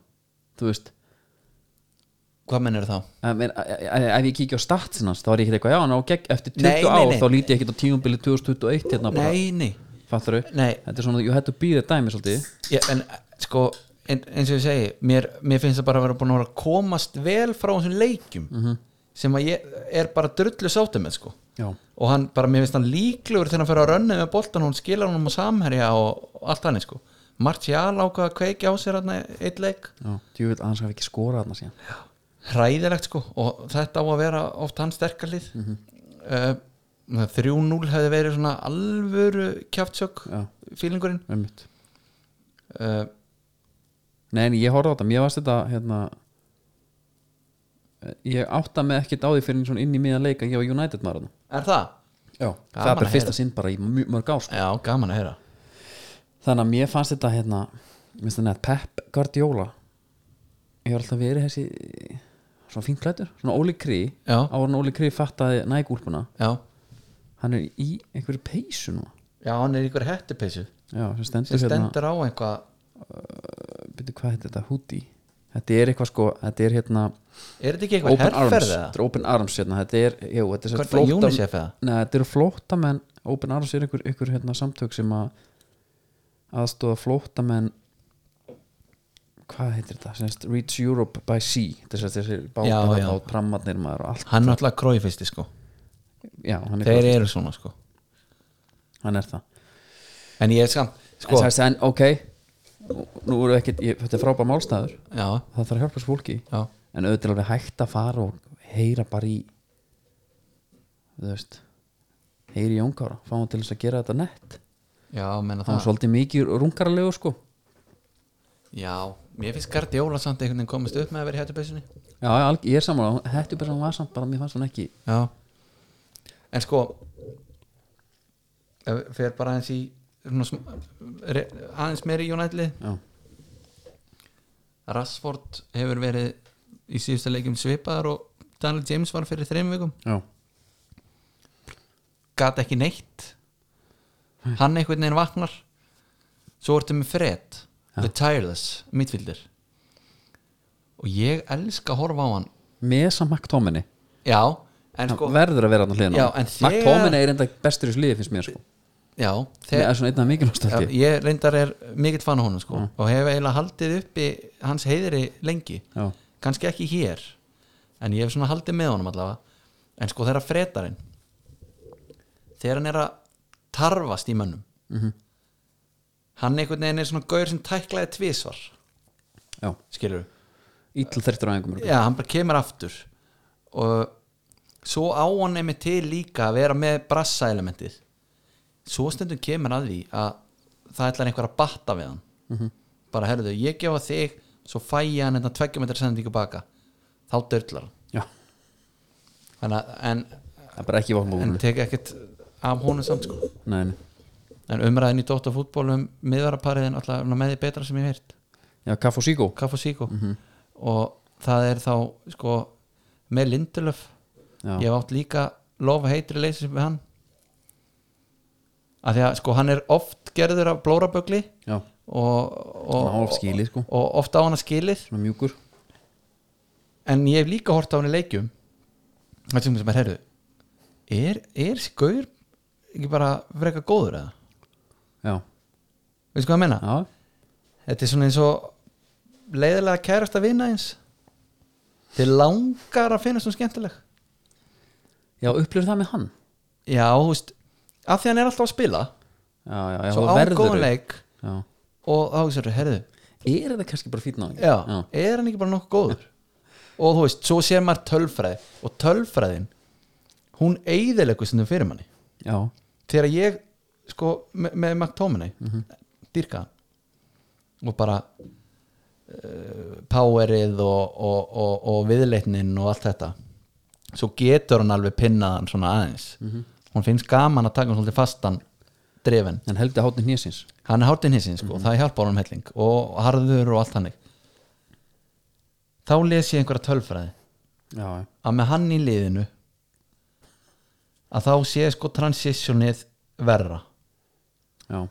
A: Þú veist
B: hvað mennir þá?
A: Ef ef ég kíkja á statsinn hans þá er ég ekkert eitthvað Já, ná, gegn, eftir 20
B: Nei, nei,
A: ár
B: nei.
A: þá líti ég ekkert á tímumbilið 2021 hérna bara,
B: Nei, nei,
A: fattar þau?
B: Nei.
A: Þetta er svona, ég hættu að býða dæmi svolítið
B: ég, en sko en, eins og ég segi, mér, mér finnst það bara að vera búin að vera að komast vel frá þessum leikjum
A: Mhm.
B: -hmm. sem að ég er bara drullu sáttum með sko
A: Já,
B: og hann bara, mér finnst hann líklegur þegar hann fyrir að rönni með boltan og hún skilar hann um að samherja og, og allt hann sko Martial ákvað að kveiki á sér hann eitt leik
A: já, djúvill að hans hafi ekki skorað þarna síðan
B: hræðilegt sko og þetta á að vera oft hans sterkalið mm
A: Mhm.
B: -hmm. 3-0 hefði verið svona alvöru kjaftsök
A: Já.
B: fílingurinn
A: einmitt.
B: uh,
A: Nei, en ég horfði á þetta, mér varst þetta hérna eh, ég átta með ekkert á því fyrir svona inn í miðan leik að ég var United maður þarna.
B: er það?
A: Já, það
B: Gaman
A: er bara
B: að
A: fyrsta
B: heyra.
A: sinn bara í mjög mörg ás
B: Já, gaman að heyra
A: þannig að mér fannst þetta hérna, mér finnst þetta nefnt Pep Guardiola ég var alltaf verið þessi svona fínt klættur, svona Óli Kri
B: Já.
A: áður en Óli Kri fattaði nægúlpuna
B: Já,
A: hann er í einhverju peysu nú
B: Já hann er í ykkur hettupeysu
A: já, sem stendur
B: sem
A: hérna
B: stendur á einhvað
A: byrju, hvað heitir þetta, húti þetta er eitthvað sko, þetta er hérna
B: Er þetta ekki eitthvað
A: Open Arms,
B: herrferð eða?
A: þetta er Open Arms hérna, þetta er, jú, þetta er sem sagt
B: Hvernig
A: flótta-
B: UNICEF eða?
A: Nei, þetta eru flóttamenn, Open Arms er einhver, einhver hérna, samtök sem að aðstóða flóttamenn hvað heitir þetta, semst Reach Europe by Sea, þetta er semst þessi
B: Já,
A: bátar
B: já.
A: á prammarnir maður og allt
B: Hann er alltaf króifisti sko
A: já, hann er,
B: Þeir eru svona sko
A: hann er það
B: En ég er samt
A: en,
B: sko
A: sagðist, en ok, nú- nú eru ekki ég, þetta er frábær málstæður,
B: Já,
A: það þarf að hjálpa þessu fólki
B: já,
A: en auðvitað er alveg hægt að fara og heyra bara í þú veist heyri í Jónkára, fá hann til þess að gera þetta nett
B: já, menna
A: það var
B: það
A: svolítið mikið rungarlegu sko
B: Já, mér finnst Gardiola samt einhvern veginn komist upp með að vera í hettupeysunni
A: já, já, alg- ég er samanlega, hættu bara hann var samt bara mér fannst hann ekki
B: Já En sko ef við fer bara aðeins í svona, sm- re- aðeins meiri Jónætli
A: já,
B: Rassford hefur verið í síðustu leikjum svipaðar og Daniel James var fyrir þreim vikum
A: já,
B: gat ekki neitt hann einhvern veginn vaknar svo ertu með Fred The Tireless, midfielder og ég elska að horfa á hann
A: með samt Mac Tóminni
B: já, en sko
A: sko, verður að vera hann á hliðina
B: Já,
A: á honum.
B: en
A: Mac
B: þegar-
A: Tóminni er enda bestur í sliði finnst mér sko
B: já,
A: það
B: þegar,
A: er svona einna mikilvægst
B: Já,
A: ekki
B: ég reyndar er mikill fan á honum sko, og hef eiginlega haldið uppi hans heiðri lengi
A: já,
B: kannski ekki hér en ég hef svona haldið með honum allavega en sko þeirra fretarinn þegar hann er að tarfast í mönnum hann einhvern veginn er svona gaur sem tæklaði tvísvar
A: já,
B: skilur
A: ítl þertur á engum
B: já, hann bara kemur aftur og svo á hann einmitt til líka að vera með brassa elementið svo stundum kemur að því að það ætlar einhver að batta við hann bara herðu, ég gefa þig svo fæ ég hann þetta 20 metri sendingu baka þá dörlar hann
A: já,
B: Þannig að- en,
A: það er bara ekki
B: en
A: vatnbúinu
B: tek ekkert af honum samt sko
A: nei, nei.
B: en umræðin í Dóttar um fútbólum miðvarapariðin alltaf með því betra sem ég hef heirt
A: já, Kaff og Síkó
B: Kaff og Síko
A: Mhm.
B: og það er þá sko með Lindelöf
A: Já.
B: ég hef átt líka lofa heitri leysið með hann af því að sko hann er oft gerður af blórabögli
A: já,
B: og, og,
A: Hann á oft skilið, sko.
B: og oft á hann að skilið
A: svona mjúkur
B: en ég hef líka hort á hann í leikjum það sem sem er um herðu er, er skaur ekki bara freka góður eða
A: já,
B: veistu hvað ég menna?
A: já,
B: Þetta er svona eins og leiðilega kærast að vinna eins Þið langar að finnast hún skemmtileg
A: já, upplifur það með hann
B: Já, þú veist af því hann er alltaf að spila
A: já, já, já,
B: svo
A: það verður
B: ágóðan
A: upp.
B: leik
A: já.
B: og þá hugsaður, herðu
A: er þetta kannski bara fýtna
B: já,
A: já,
B: er hann ekki bara nokkuð góður og þú veist, svo sé maður tölfræði og tölfræðin hún eyðilegu sem þau fyrir manni
A: já,
B: þegar ég, sko, með, með McTominay mm dýrka hann og bara uh, powerið og, og, og, og viðleitnin og allt þetta svo getur hann alveg pinnað hann svona aðeins hún finnst gaman að taka hann svolítið fastan drefin,
A: en heldur hátni hnésins
B: hann er hátinn hinsinn sko, það hjálpar hann helling og harður og allt hannig þá les ég einhverja tölfræði
A: já, já,
B: að með hann í liðinu að þá sé sko transitionið verra
A: já,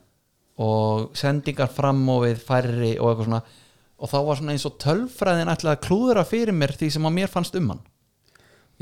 B: og sendingar fram og við færri og eitthvað svona og þá var svona eins og tölfræðin ætlaði að klúðra fyrir mér því sem að mér fannst um hann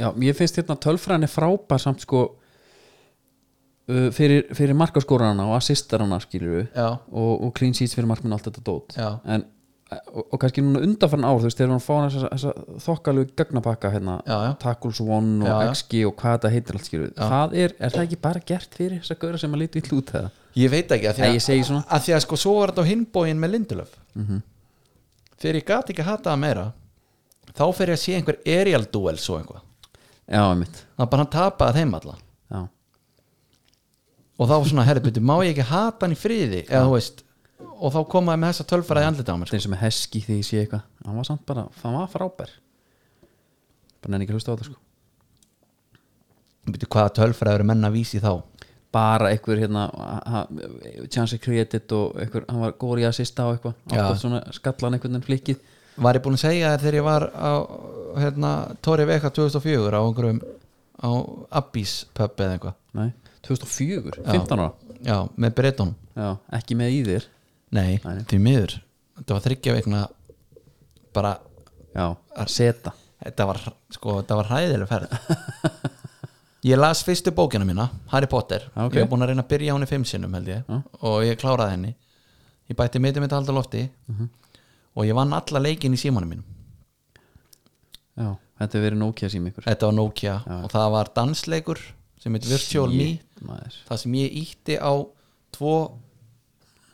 A: já ég finnst hérna tölfræðin er frábær samt sko uh, fyrir, fyrir markaskorana og assistarana skilur við
B: já,
A: og, og clean sheets fyrir markminn og allt þetta dót
B: Já.
A: en og, og kannski núna undanfarn ár þú veist, þegar hann fá hann þessa, þessa þokkalegu gagnapakka hérna,
B: Já, já.
A: Tackles One og
B: Já, já.
A: XG og hvað þetta heitir allt skilur það er, er það ekki bara gert fyrir þess að gauðra sem að lítið vill út það
B: ég veit ekki að því
A: Nei, ég segi
B: að,
A: svona.
B: að því að sko svo var þetta á hinbóin með Lindelöf þegar ég gat ekki að hata það meira þá fer ég að sé einhver aerial duel svo einhvað
A: já, mitt,
B: þannig að bara hann tapaði þeim alla
A: já,
B: og þá var svona herrbyttu, má ég ekki hata hann í friði eða þú veist og þá komaði með þessa tölfaraði andlita á mér
A: þetta er
B: sko.
A: eins og með Heski þegar ég sé eitthvað, hann var samt bara, það var frábær bara nefnir ekki að hlusta á þetta sko
B: Bíddu, hvaða tölfaraði eru menna vísi þá
A: bara einhver hérna ha- ha- chance created og einhver, hann var góri að sista og eitthvað,
B: Já.
A: alltaf svona skallan einhvern veginn flikkið
B: var ég búin að segja þér þegar ég var á hérna, Tori Veka 2004 á einhverjum á Abbís pub eða eitthvað
A: Nei, 2004, 15 ára
B: já, með breytunum
A: Já, ekki með í þér
B: Nei,
A: Nei.
B: því miður Þetta var þryggja veikna bara,
A: Já, seta
B: þetta var, sko, þetta var hræðileg ferð Ég las fyrstu bókina mína, Harry Potter
A: Ah, ok. Ah.
B: Ég var búin að reyna að byrja á henni fimm sinnum held ég og ég kláraði henni Ég bætti mitt um þetta alltaf lofti
A: Mhm.
B: og ég vann alla leikin í símanum mínum
A: Já, þetta hefur verið Nokia sími ykkur
B: Þetta var Nokia og það var dansleikur sem heit Virtual Me
A: Maður.
B: það sem ég ítti á 2,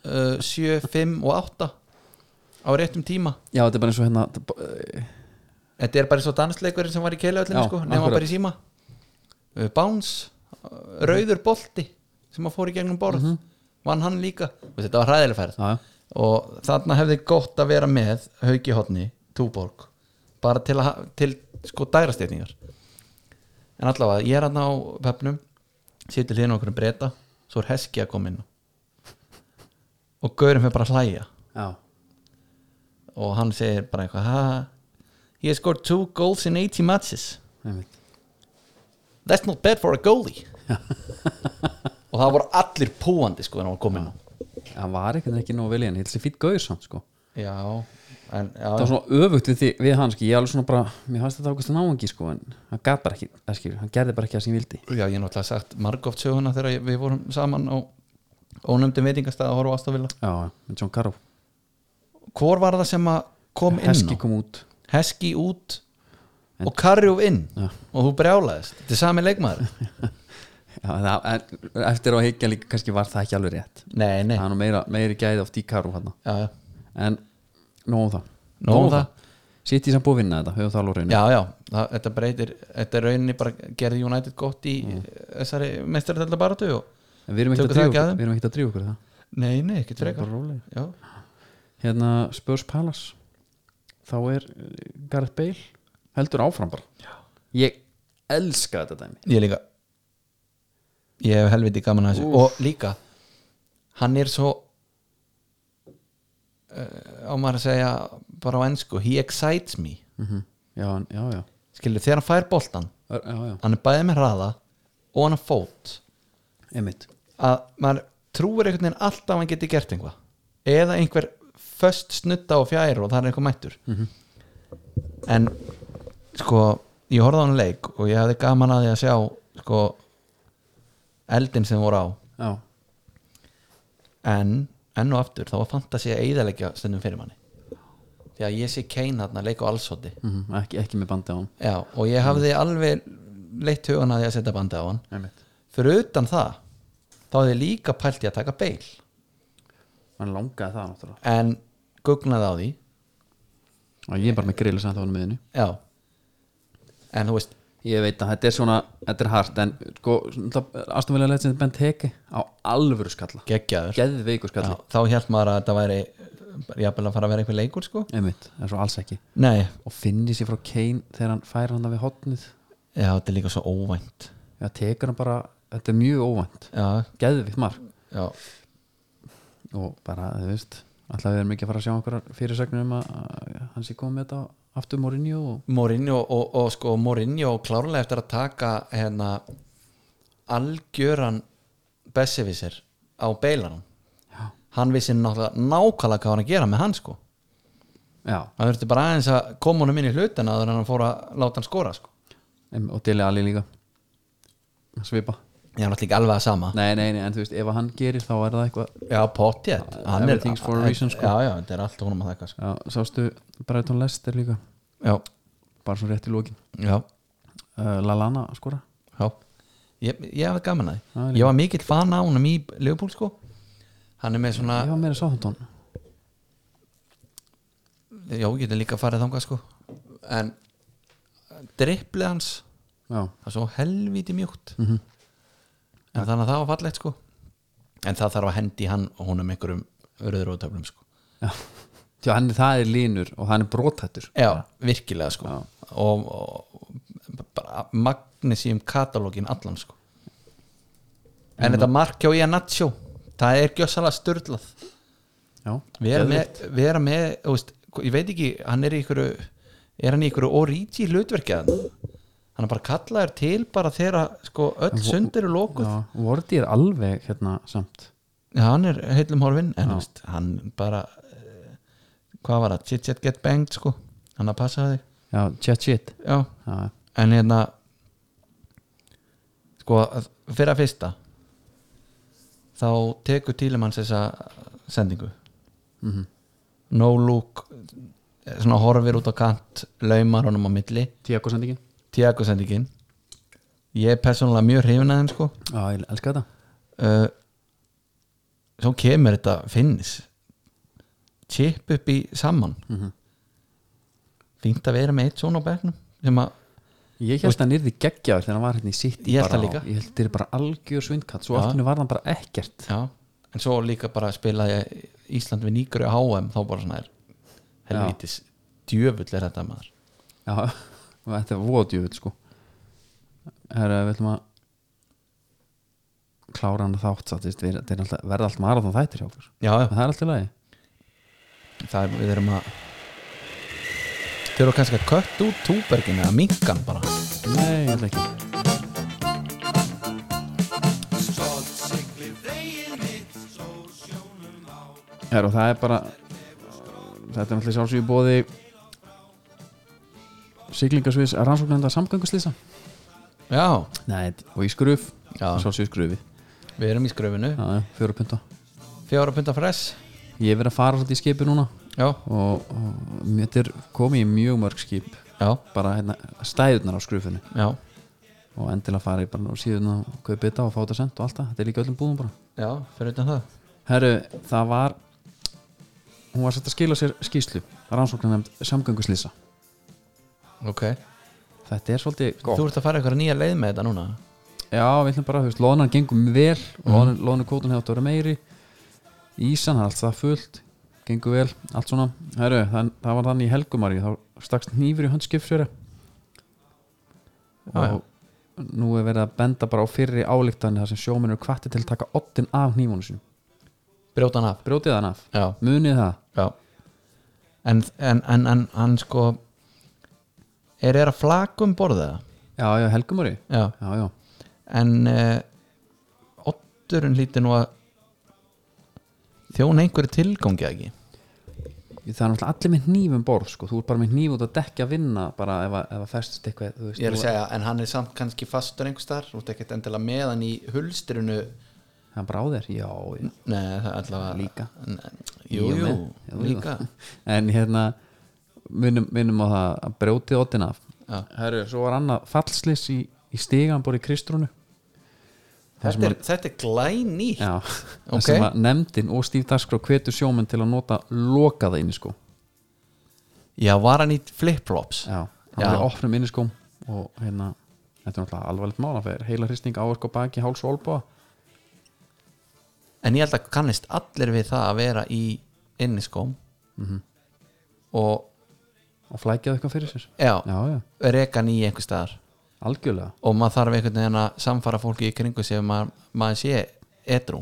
B: uh, 7, 5 og 8 á réttum tíma
A: Já, þetta er bara eins og hérna þetta er bara- eh,
B: Þetta er bara svo dansleikurinn sem var í keilöðlinu
A: Já,
B: sko, nema
A: akkurat.
B: bara í síma Uh, Bounce, uh, rauður bolti sem að fór í gegnum borð
A: Mhm.
B: vann hann líka, Og þetta var hræðileg ferð
A: Já, já,
B: og þarna hefði gott að vera með Hauki Hotni, Túborg bara til, að, ha- til sko dærasteytingar en allavega, ég er hann á pepnum situr hliðin okkur um breyta svo er Heski að koma inn á. og Gaurin fyrir bara að hlæja
A: já,
B: og hann segir bara eitthvað ha, he has scored two goals in 80 matches
A: einmitt
B: that's not bad for a goalie og það voru allir púandi sko en hann kom inn á.
A: Það var eitthvað ekki nóg vel í henni, þetta er fýtt gauður samt sko
B: já, en
A: Það var
B: já,
A: svona öfugt við, því, við hann sko, ég alveg svona bara Mér fannst þetta ákvæmst náungi sko En hann gat bara ekki, það skilur, hann gerði bara ekki það sem ég vildi
B: já, ég er náttúrulega sagt margóft söguna þegar ég- við vorum saman á ónöfndum veitingastæða að horfa ástafila
A: Já, já, með John Carroll
B: hvor var það sem að kom inn á?
A: Heski kom út
B: Heski út og Karjúf inn
A: Já.
B: og þú brjálaðist, þetta er sami leikmaður
A: Já, það, en eftir á að higgja líka kannski var það ekki alveg rétt
B: nei, nei,
A: Það er nú meira, meiri gæði oft í Carroll hann
B: já, já,
A: En nóg um það
B: Nóg um það.
A: Sitt í samt búið að vinna þetta, höfum það alveg á hreinu
B: já, já það, þetta breytir, þetta er rauninni bara gerði United gott í mm. þessari mestarðarlega baratu og
A: En Við erum ekkert
B: Tökum
A: að, drífa
B: það ekki að
A: okkur-
B: þeim?
A: við erum ekkert að drífa okkur í það
B: nei, nei, ekkert frekar
A: Bara rólegir.
B: já,
A: Hérna Spurs Palace Þá er eh, Gareth Bale heldur áfram bara já. Ég elska þetta dæmi
B: ég líka ég hef helviti gaman að þessu og líka, hann er svo uh, á maður að segja bara á ennsku, he excites me
A: -hmm. já, en- já, já
B: skilur, þegar hann fær boltan
A: Ör- Já, já,
B: hann er bæðið með hraða og hann er fót
A: einmitt
B: að maður trúir einhvern veginn alltaf að hann geti gert einhvað eða einhver föst snutta á fjær og það er einhver mættur en sko ég horfði á hann leik og ég hafði gaman að því að sjá sko eldin sem voru á
A: Já,
B: en enn og aftur þá var fantasi að eyðalegja stundum fyrir manni því að ég sé Kane hann að leika á allsóti
A: mm ekki, ekki með bandi á hann
B: Já, og ég hafði alveg leitt hugan að því að setja bandi á hann
A: Einmitt
B: fyrir utan það þá hefði ég líka pælt í að taka beil
A: Hann langaði það náttúrulega
B: en gugnaði á því
A: Og ég er bara með grillu samt á hann miðinu
B: já en þú veist,
A: Ég veit að þetta er svona, þetta er hart En sko, aðstofnvelja leitt sem þetta bent heki Á alvöru skalla
B: geggjaður
A: Geðveikur
B: já,
A: skalla
B: þá held maður að þetta væri jafnvel að fara að vera einhver leikur sko
A: einmitt, en svo alls ekki
B: nei,
A: og finnir sér frá Kane þegar hann fær hann við hotnið
B: já, þetta er líka svo óvænt
A: það tekur hann bara, þetta er mjög óvænt
B: já,
A: geðvitt mark
B: já,
A: og bara, þú veist, alltaf við erum ekki að fara að sjá einhverjar fyrirsagnir um að að hann sé komið með þetta aftur Mourinho og
B: Mourinho og, og, og sko Mourinho klárlega eftir að taka hérna algjöran bessevisir á beilanum
A: Já.
B: hann vissi náttúrulega nákvæmlega hvað hann að gera með hann sko
A: já,
B: hann þurfti bara aðeins að koma honum inn í hlutina þannig að hann fór að láta hann skora sko
A: em- og Dele Alli líka svipa
B: ég er náttúrulega ekki alveg að sama
A: Nei, nei, nei, en þú veist, ef hann gerir þá er það eitthvað
B: já, potjett
A: Uh, Everything's for a reason, sko.
B: já, já, þetta er allt honum að þekka sko.
A: Já, sástu Brighton Lester líka
B: já,
A: bara svo rétt í lókin
B: já,
A: uh, Lalana skora
B: já ég, ég hafði gaman að
A: Já,
B: því ég var mikill fan á honum í Leopold sko hann er með svona,
A: Ég var meira sáþóntón
B: já, ég geti líka farið þangað sko en dripplið hans
A: Já,
B: það er svo helvíti mjúkt
A: Mhm.
B: en þannig að það var fallegt sko en það þarf að hendi hann og honum einhverjum rauðrótöflum sko
A: já Því að hann er það er línur og hann er brotættur
B: Já, virkilega sko
A: Já.
B: og, og bara magnesíum katalógin allan sko en þetta markjá í að natsjó það er gjössalega störlað
A: Já,
B: vera með, vera með þú veist, ég veit ekki, hann er í ykkur er hann í ykkur origi hlutverkið hann er bara kallaður til bara þegar sko öll sundir er lókuð
A: já
B: já.
A: Vordi er alveg hérna samt
B: hann er heilum horfinn en þú veist, hann bara eh, hvað var það, chit chat get banged sko hann að passa þig
A: Já, chat shit
B: já,
A: Já,
B: en hérna sko, fyrir að fyrsta þá tekur Tílemanns þessa sendingu no look eh, svona horfir út á kant laumar honum á milli,
A: Tiago sendingin
B: Tiago sendingin ég er persónulega mjög hrifin að þeim sko
A: Já, ég elska þetta
B: uh, svo kemur þetta finnis chip upp í saman fínt að vera með eitt svona á bekknum sem að
A: Ég held að hann yrði geggjaður þegar hann var hérna í sitt
B: Ég held það líka.
A: Ég held þetta er bara algjör svindkatt Svo
B: Já.
A: allt henni var hann bara ekkert
B: Já, en svo líka bara spilaði Ísland við nýgur í HM þá bara svona er helvítis djöfull er þetta maður
A: Já, þetta er vóðjöfull sko Herra, við ætlum að klára hann þátt satt, veist, við, þetta er alltaf, verða allt marathon þættir hjá okkur
B: Já,
A: En það er alltaf lagi
B: það er, við erum að Þau eru kannski að kött út túbergin eða minkan bara
A: Nei, ég held ekki Herra, og það er bara þetta er alltaf sjálfsög í bóði siglingasviðs rannsóknenda samgönguslýsa
B: Já,
A: Nei, og í skruf
B: Já.
A: sjálfsög í skrufi
B: við erum í skröfinu
A: Já, já, fjóra punta
B: Fjóra punta fress
A: Ég hef verið að fara svolítið í skipi núna
B: Já,
A: og, og mér þetta er komið í mjög mörg skip
B: já,
A: bara hérna, stæðunar á skrufinu
B: já,
A: og endilega farið bara og síðan að kaupa þetta og fá þetta sent og allt það, þetta er líka öllum búðum bara
B: já, fyrir utan það
A: Herru, það var hún var sett að skila sér skýslu rannsóknarnefnd samgönguslýsa
B: Ok,
A: þetta er svolítið
B: þú ert að fara eitthvað nýja leið með þetta núna
A: Já, við ætlum bara, þú veist, loðnan gengum vel
B: Mhm.
A: mm. loðnan kótun hefði átt að vera meiri Ísan, það er allt það fullt gengur vel, allt svona Herru, það, það var þannig í helgumari þá stakst nýfur í höndskipsfjöra
B: Já, já.
A: og nú er verið að benda bara á fyrri álíktanir þar sem sjóminn eru kvatti til að taka ottin af nýfónu sínum
B: Brjóta hann af
A: brjótið hann af,
B: Já,
A: munið það
B: Já En, en, en, en hann sko Er er að um flakum borða
A: Já, já, helgumari,
B: Já
A: já, já
B: En uh, Otturinn líti nú að Þjóna einhverju tilgangi eða ekki
A: Það er náttúrulega allir með hnífum borð sko. þú ert bara með hníf út að dekja að vinna bara ef að, ef að festist eitthvað þú veist,
B: Ég er að
A: þú-
B: segja, en hann er samt kannski fastur einhvers þar Þú ert ekkert endilega með hann í hulstrinu
A: Það er bara á þér, já, já
B: Nei, það er allavega
A: Líka.
B: N- Jú, jú,
A: men- jú, jú.
B: líka
A: En hérna minnum, minnum á það að brjótið óttina af
B: Já.
A: Herru, svo var annað fallslis í, í stigan bara í kristrúnu
B: þetta, er, þetta er glæný
A: Já,
B: Ok.
A: það sem að nefndin og Stíf Dagskrá hvetur sjómenn til að nota lokaða inniskó
B: Já, var hann í flip-flops
A: Já, það
B: Já.
A: var í opnum um inniskóm og hérna, þetta er náttúrulega alvarlegt mála fyrir heila hristning áverk og sko, baki, háls og olbúa
B: en ég held að kannist allir við það að vera í inniskóm Mhm. og
A: og flækjaði eitthvað fyrir sér
B: já,
A: Já, já,
B: rekan í einhver staðar
A: algjörlega
B: og maður þarf einhvern veginn að samfara fólki í kringu sem maður, maður sé edru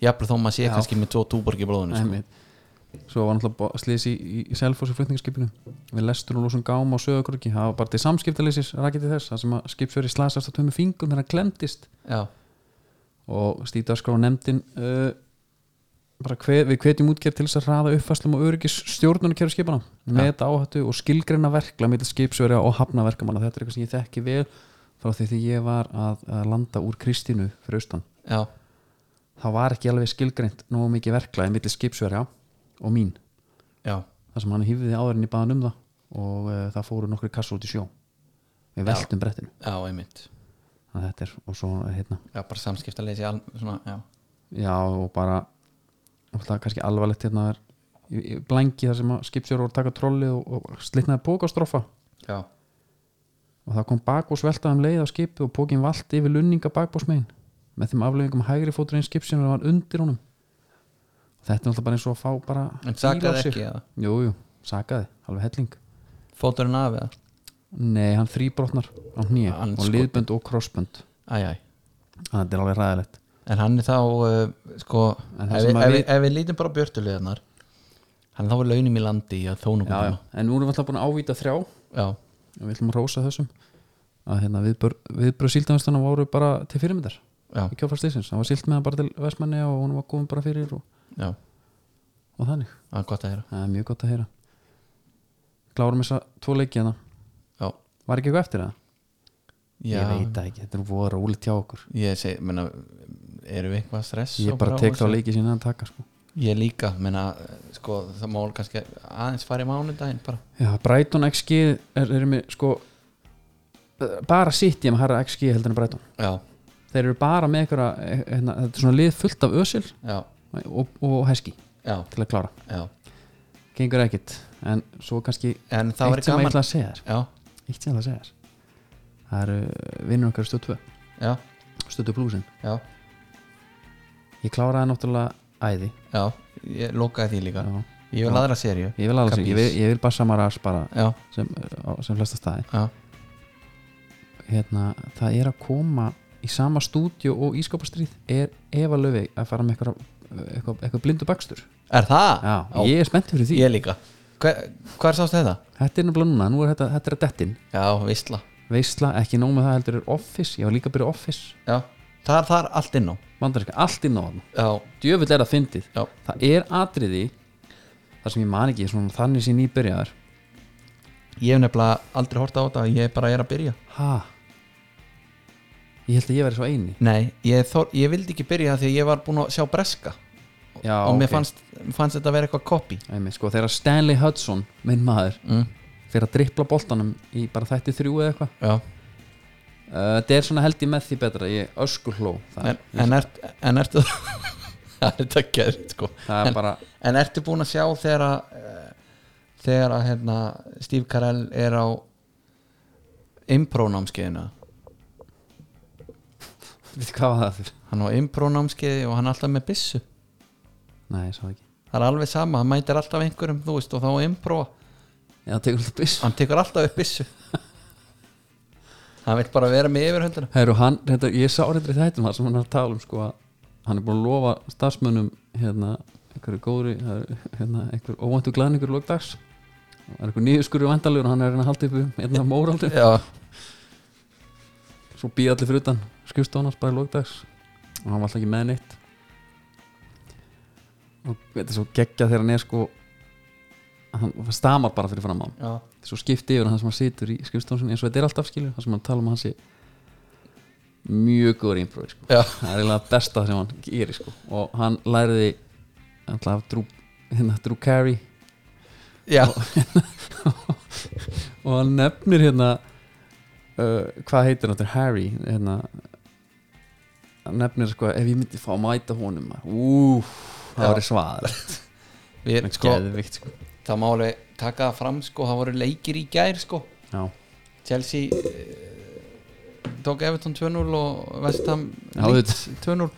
B: jafnvel þó maður sé kannski með tvo túborg í blóðinu sko.
A: Einmitt. Svo var náttúrulega slýs í, í, í Selfossi flutningarskipinu við lestur og lúsum gám á sögurkröki það var bara til samskiptalýsis rakið til þess það sem að skipsverði slasast á tömmu fingum þegar hann glemdist
B: já,
A: og stíðaskrá nefndin uh, bara hve, við hvetjum útgerð til þess að hraða uppfæslum og öryggis stjórnunarkerfi skipana með þetta áhættu og skilgreina verkla mitt skipsverja og hafna verkamanna þetta er eitthvað sem ég þekki vel frá því því ég var að, að landa úr Kristínu fyrir austan
B: já,
A: það var ekki alveg skilgreint nógu mikið verklaði millir skipsverja og mín
B: já,
A: þar sem hann hýfði áðurinn í baðan um það og uh, það fóru nokkri kassu út í sjó við
B: Já.
A: veltum brettinu
B: já, einmitt
A: Þannig að þetta er, og svo hérna
B: já, bara samskiptaleysi al- svona, já,
A: já og bara og það er kannski alvarlegt hérna er í- í blængi þar sem að skipsverja voru að taka trolli og, og slitnaði pókastrófa
B: já,
A: og það kom bakbós veltað um leið á skipið og pókin valt yfir lunninga bakbósmegin með þeim aflöfingum hægri fótur einn skip sem var undir honum þetta er alltaf bara eins og að fá bara
B: En sakaði
A: bíl á sig.
B: ekki, eða?
A: jú, jú, sakaði, alveg helling
B: fóturinn af eða
A: nei, hann þrýbrotnar á hnýja
B: Hann
A: og liðbönd og krossbönd
B: æj, æj
A: þannig að Ah, þetta er alveg ræðilegt
B: En hann er þá uh, sko,
A: En
B: ef,
A: það
B: við,
A: sem að
B: ef,
A: við-
B: við, ef við lítum bara á björtulegarnar hann er þá er launim í landi í að þónum
A: já, já. en nú erum við alltaf búin að ávíta þrjá og
B: já,
A: við ætlum að rósa þessum að hérna, viðbröð síldanvistana voru bara til fyrirmyndar
B: já,
A: í kjófarslýsins, hann var síld með hann bara til Vestmanni og hún var góðum bara fyrir og,
B: já,
A: og þannig
B: það er gott að heyra
A: Það er mjög gott að heyra Klárum þess að tvo leiki hana
B: Já,
A: Var ekki eitthvað eftir það?
B: já
A: Ég veit það ekki, þetta er voru rólegt hjá okkur
B: ég seg, menna, erum við eitthvað stress
A: Ég
B: og
A: bara tek þá
B: á þessu?
A: leiki sína að taka sko.
B: Ég líka, menna, sko, það mál kannski aðeins fara í mánudaginn bara
A: Já, Brighton XG er, er með sko eh, bara sitt ég með harra XG heldur en Brighton
B: Já,
A: Þeir eru bara með einhverja eh, hérna, þetta er svona lið fullt af ösil
B: já,
A: og, og heski
B: já,
A: til að klára
B: já
A: Gengur ekkit, en svo kannski
B: En það var
A: eitt sem ég
B: gaman
A: ætla að segja þér
B: Já,
A: Eitt sem ég ætla að segja þér Það eru eh, vinnur okkar stöð 2
B: já,
A: stöðu blúsin
B: já,
A: Ég kláraði náttúrulega æði
B: já Ég lokaði því líka
A: Já.
B: Ég vil aðra seríu
A: Ég vil alveg, ég vil, ég vil bara samaras bara
B: Já,
A: sem, eh, á- sem flesta staði
B: já,
A: hérna, það er að koma í sama stúdíu og ískapastríð er Eva Löfi að fara með eitthvað, eitthvað, eitthvað blindu bakstur
B: er það?
A: Já, ég er spennt fyrir því
B: Ég líka Hver, Hver sást þetta?
A: Þetta er nefnilega núna, nú er þetta, þetta er að dettin
B: Já, vissla
A: Veisla, ekki nóg með það heldur er Office, ég var líka að byrja Office
B: Já, þar, þar allt inn á
A: Vandarinska, allt inn á hann
B: Já,
A: Djöfull er það fyndið
B: já,
A: Það er atriði þar sem ég man ekki, svona þannig sem ég byrjaðar
B: ég hef nefnilega aldrei hort á þetta Ég bara er að byrja
A: Ha? Ég held að ég væri svo eini
B: Nei, ég, þor, ég vildi ekki byrja því að ég var búin að sjá breska
A: Já,
B: Og mér
A: ok.
B: fannst, fannst þetta að vera eitthvað copy
A: Æmi, sko, þegar Stanley Hudson, minn maður
B: mm.
A: fyrir að drippla boltanum í bara þætti þrjú eða eitthvað
B: Já,
A: uh, þetta er svona held ég með því betra ég öskur hló það,
B: en, en, ert, en ertu Það er þetta gerð sko
A: það er
B: en,
A: bara,
B: en ertu búin að sjá þegar að eh, Þegar að hérna Steve Carell er á Imprónámskeiðina
A: við þið hvað var það fyrir
B: Hann á imprónámskeiði og hann er alltaf með byssu
A: nei, ég sá það ekki,
B: það er alveg sama, hann mætir alltaf einhverjum þú veist, og þá improva,
A: já, tekur þetta byss
B: hann tekur alltaf upp byssu hann vil bara vera með yfirhöndina
A: Heru, hann, þetta, ég sá reyndri þættum það sem hann er að tala um sko, að hann er búin að lofa starfsmönnum hérna, einhverju góðri það er, hérna, einhver óvæntu glæðningur lókdags það er einhver nýðurskurri vandalegur og hann er að reyna að halda upp um hérna einna móraldi
B: já,
A: svo býði allir fyrir utan skjúst á hann bara í lókdags og hann var alltaf ekki með neitt og þetta er svo geggja þegar hann er sko hann stamar bara fyrir fram á hann
B: já,
A: þetta er svo skipti yfir hann sem hann situr í skjústónu eins og þetta er alltaf skilur það sem hann tala um að hann sé mjög góður ímprov sko.
B: já,
A: það er eiginlega besta sem hann gerir sko. og hann læriði alltaf af Drew, hérna, Drew Carey
B: já.
A: og hann nefnir hérna uh, hvað heitir hann, þetta er Harry hérna hann nefnir sko, ef ég myndi fá að mæta honum úf,
B: Já.
A: það var svaðar
B: Við, sko,
A: geðvikt sko
B: það má alveg taka það fram sko, það voru leikir í gær sko.
A: já,
B: Chelsea eh, tók Everton 2-0 og Vestham
A: Já,
B: Leeds 2-0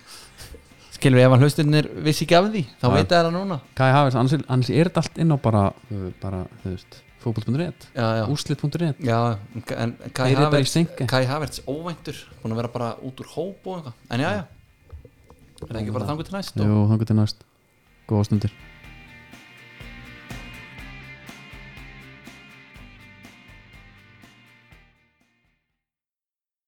B: skilur við ef hann hlustinnir vissi ekki af því þá
A: Já.
B: veit það það núna
A: Kai Havers, annars, er- annars er þetta allt inn á bara, uh, bara þú veist, fótboll.net
B: já, já.
A: úslit.net,
B: Já, en
A: Þeir
B: Kai
A: eru bara í
B: Havertz
A: stinki.
B: Kai Havertz óvæntur búin að vera bara út úr hóp og eitthvað en já, já, er það ekki bara þangur til næst og
A: jú, þangur til næst góða stundir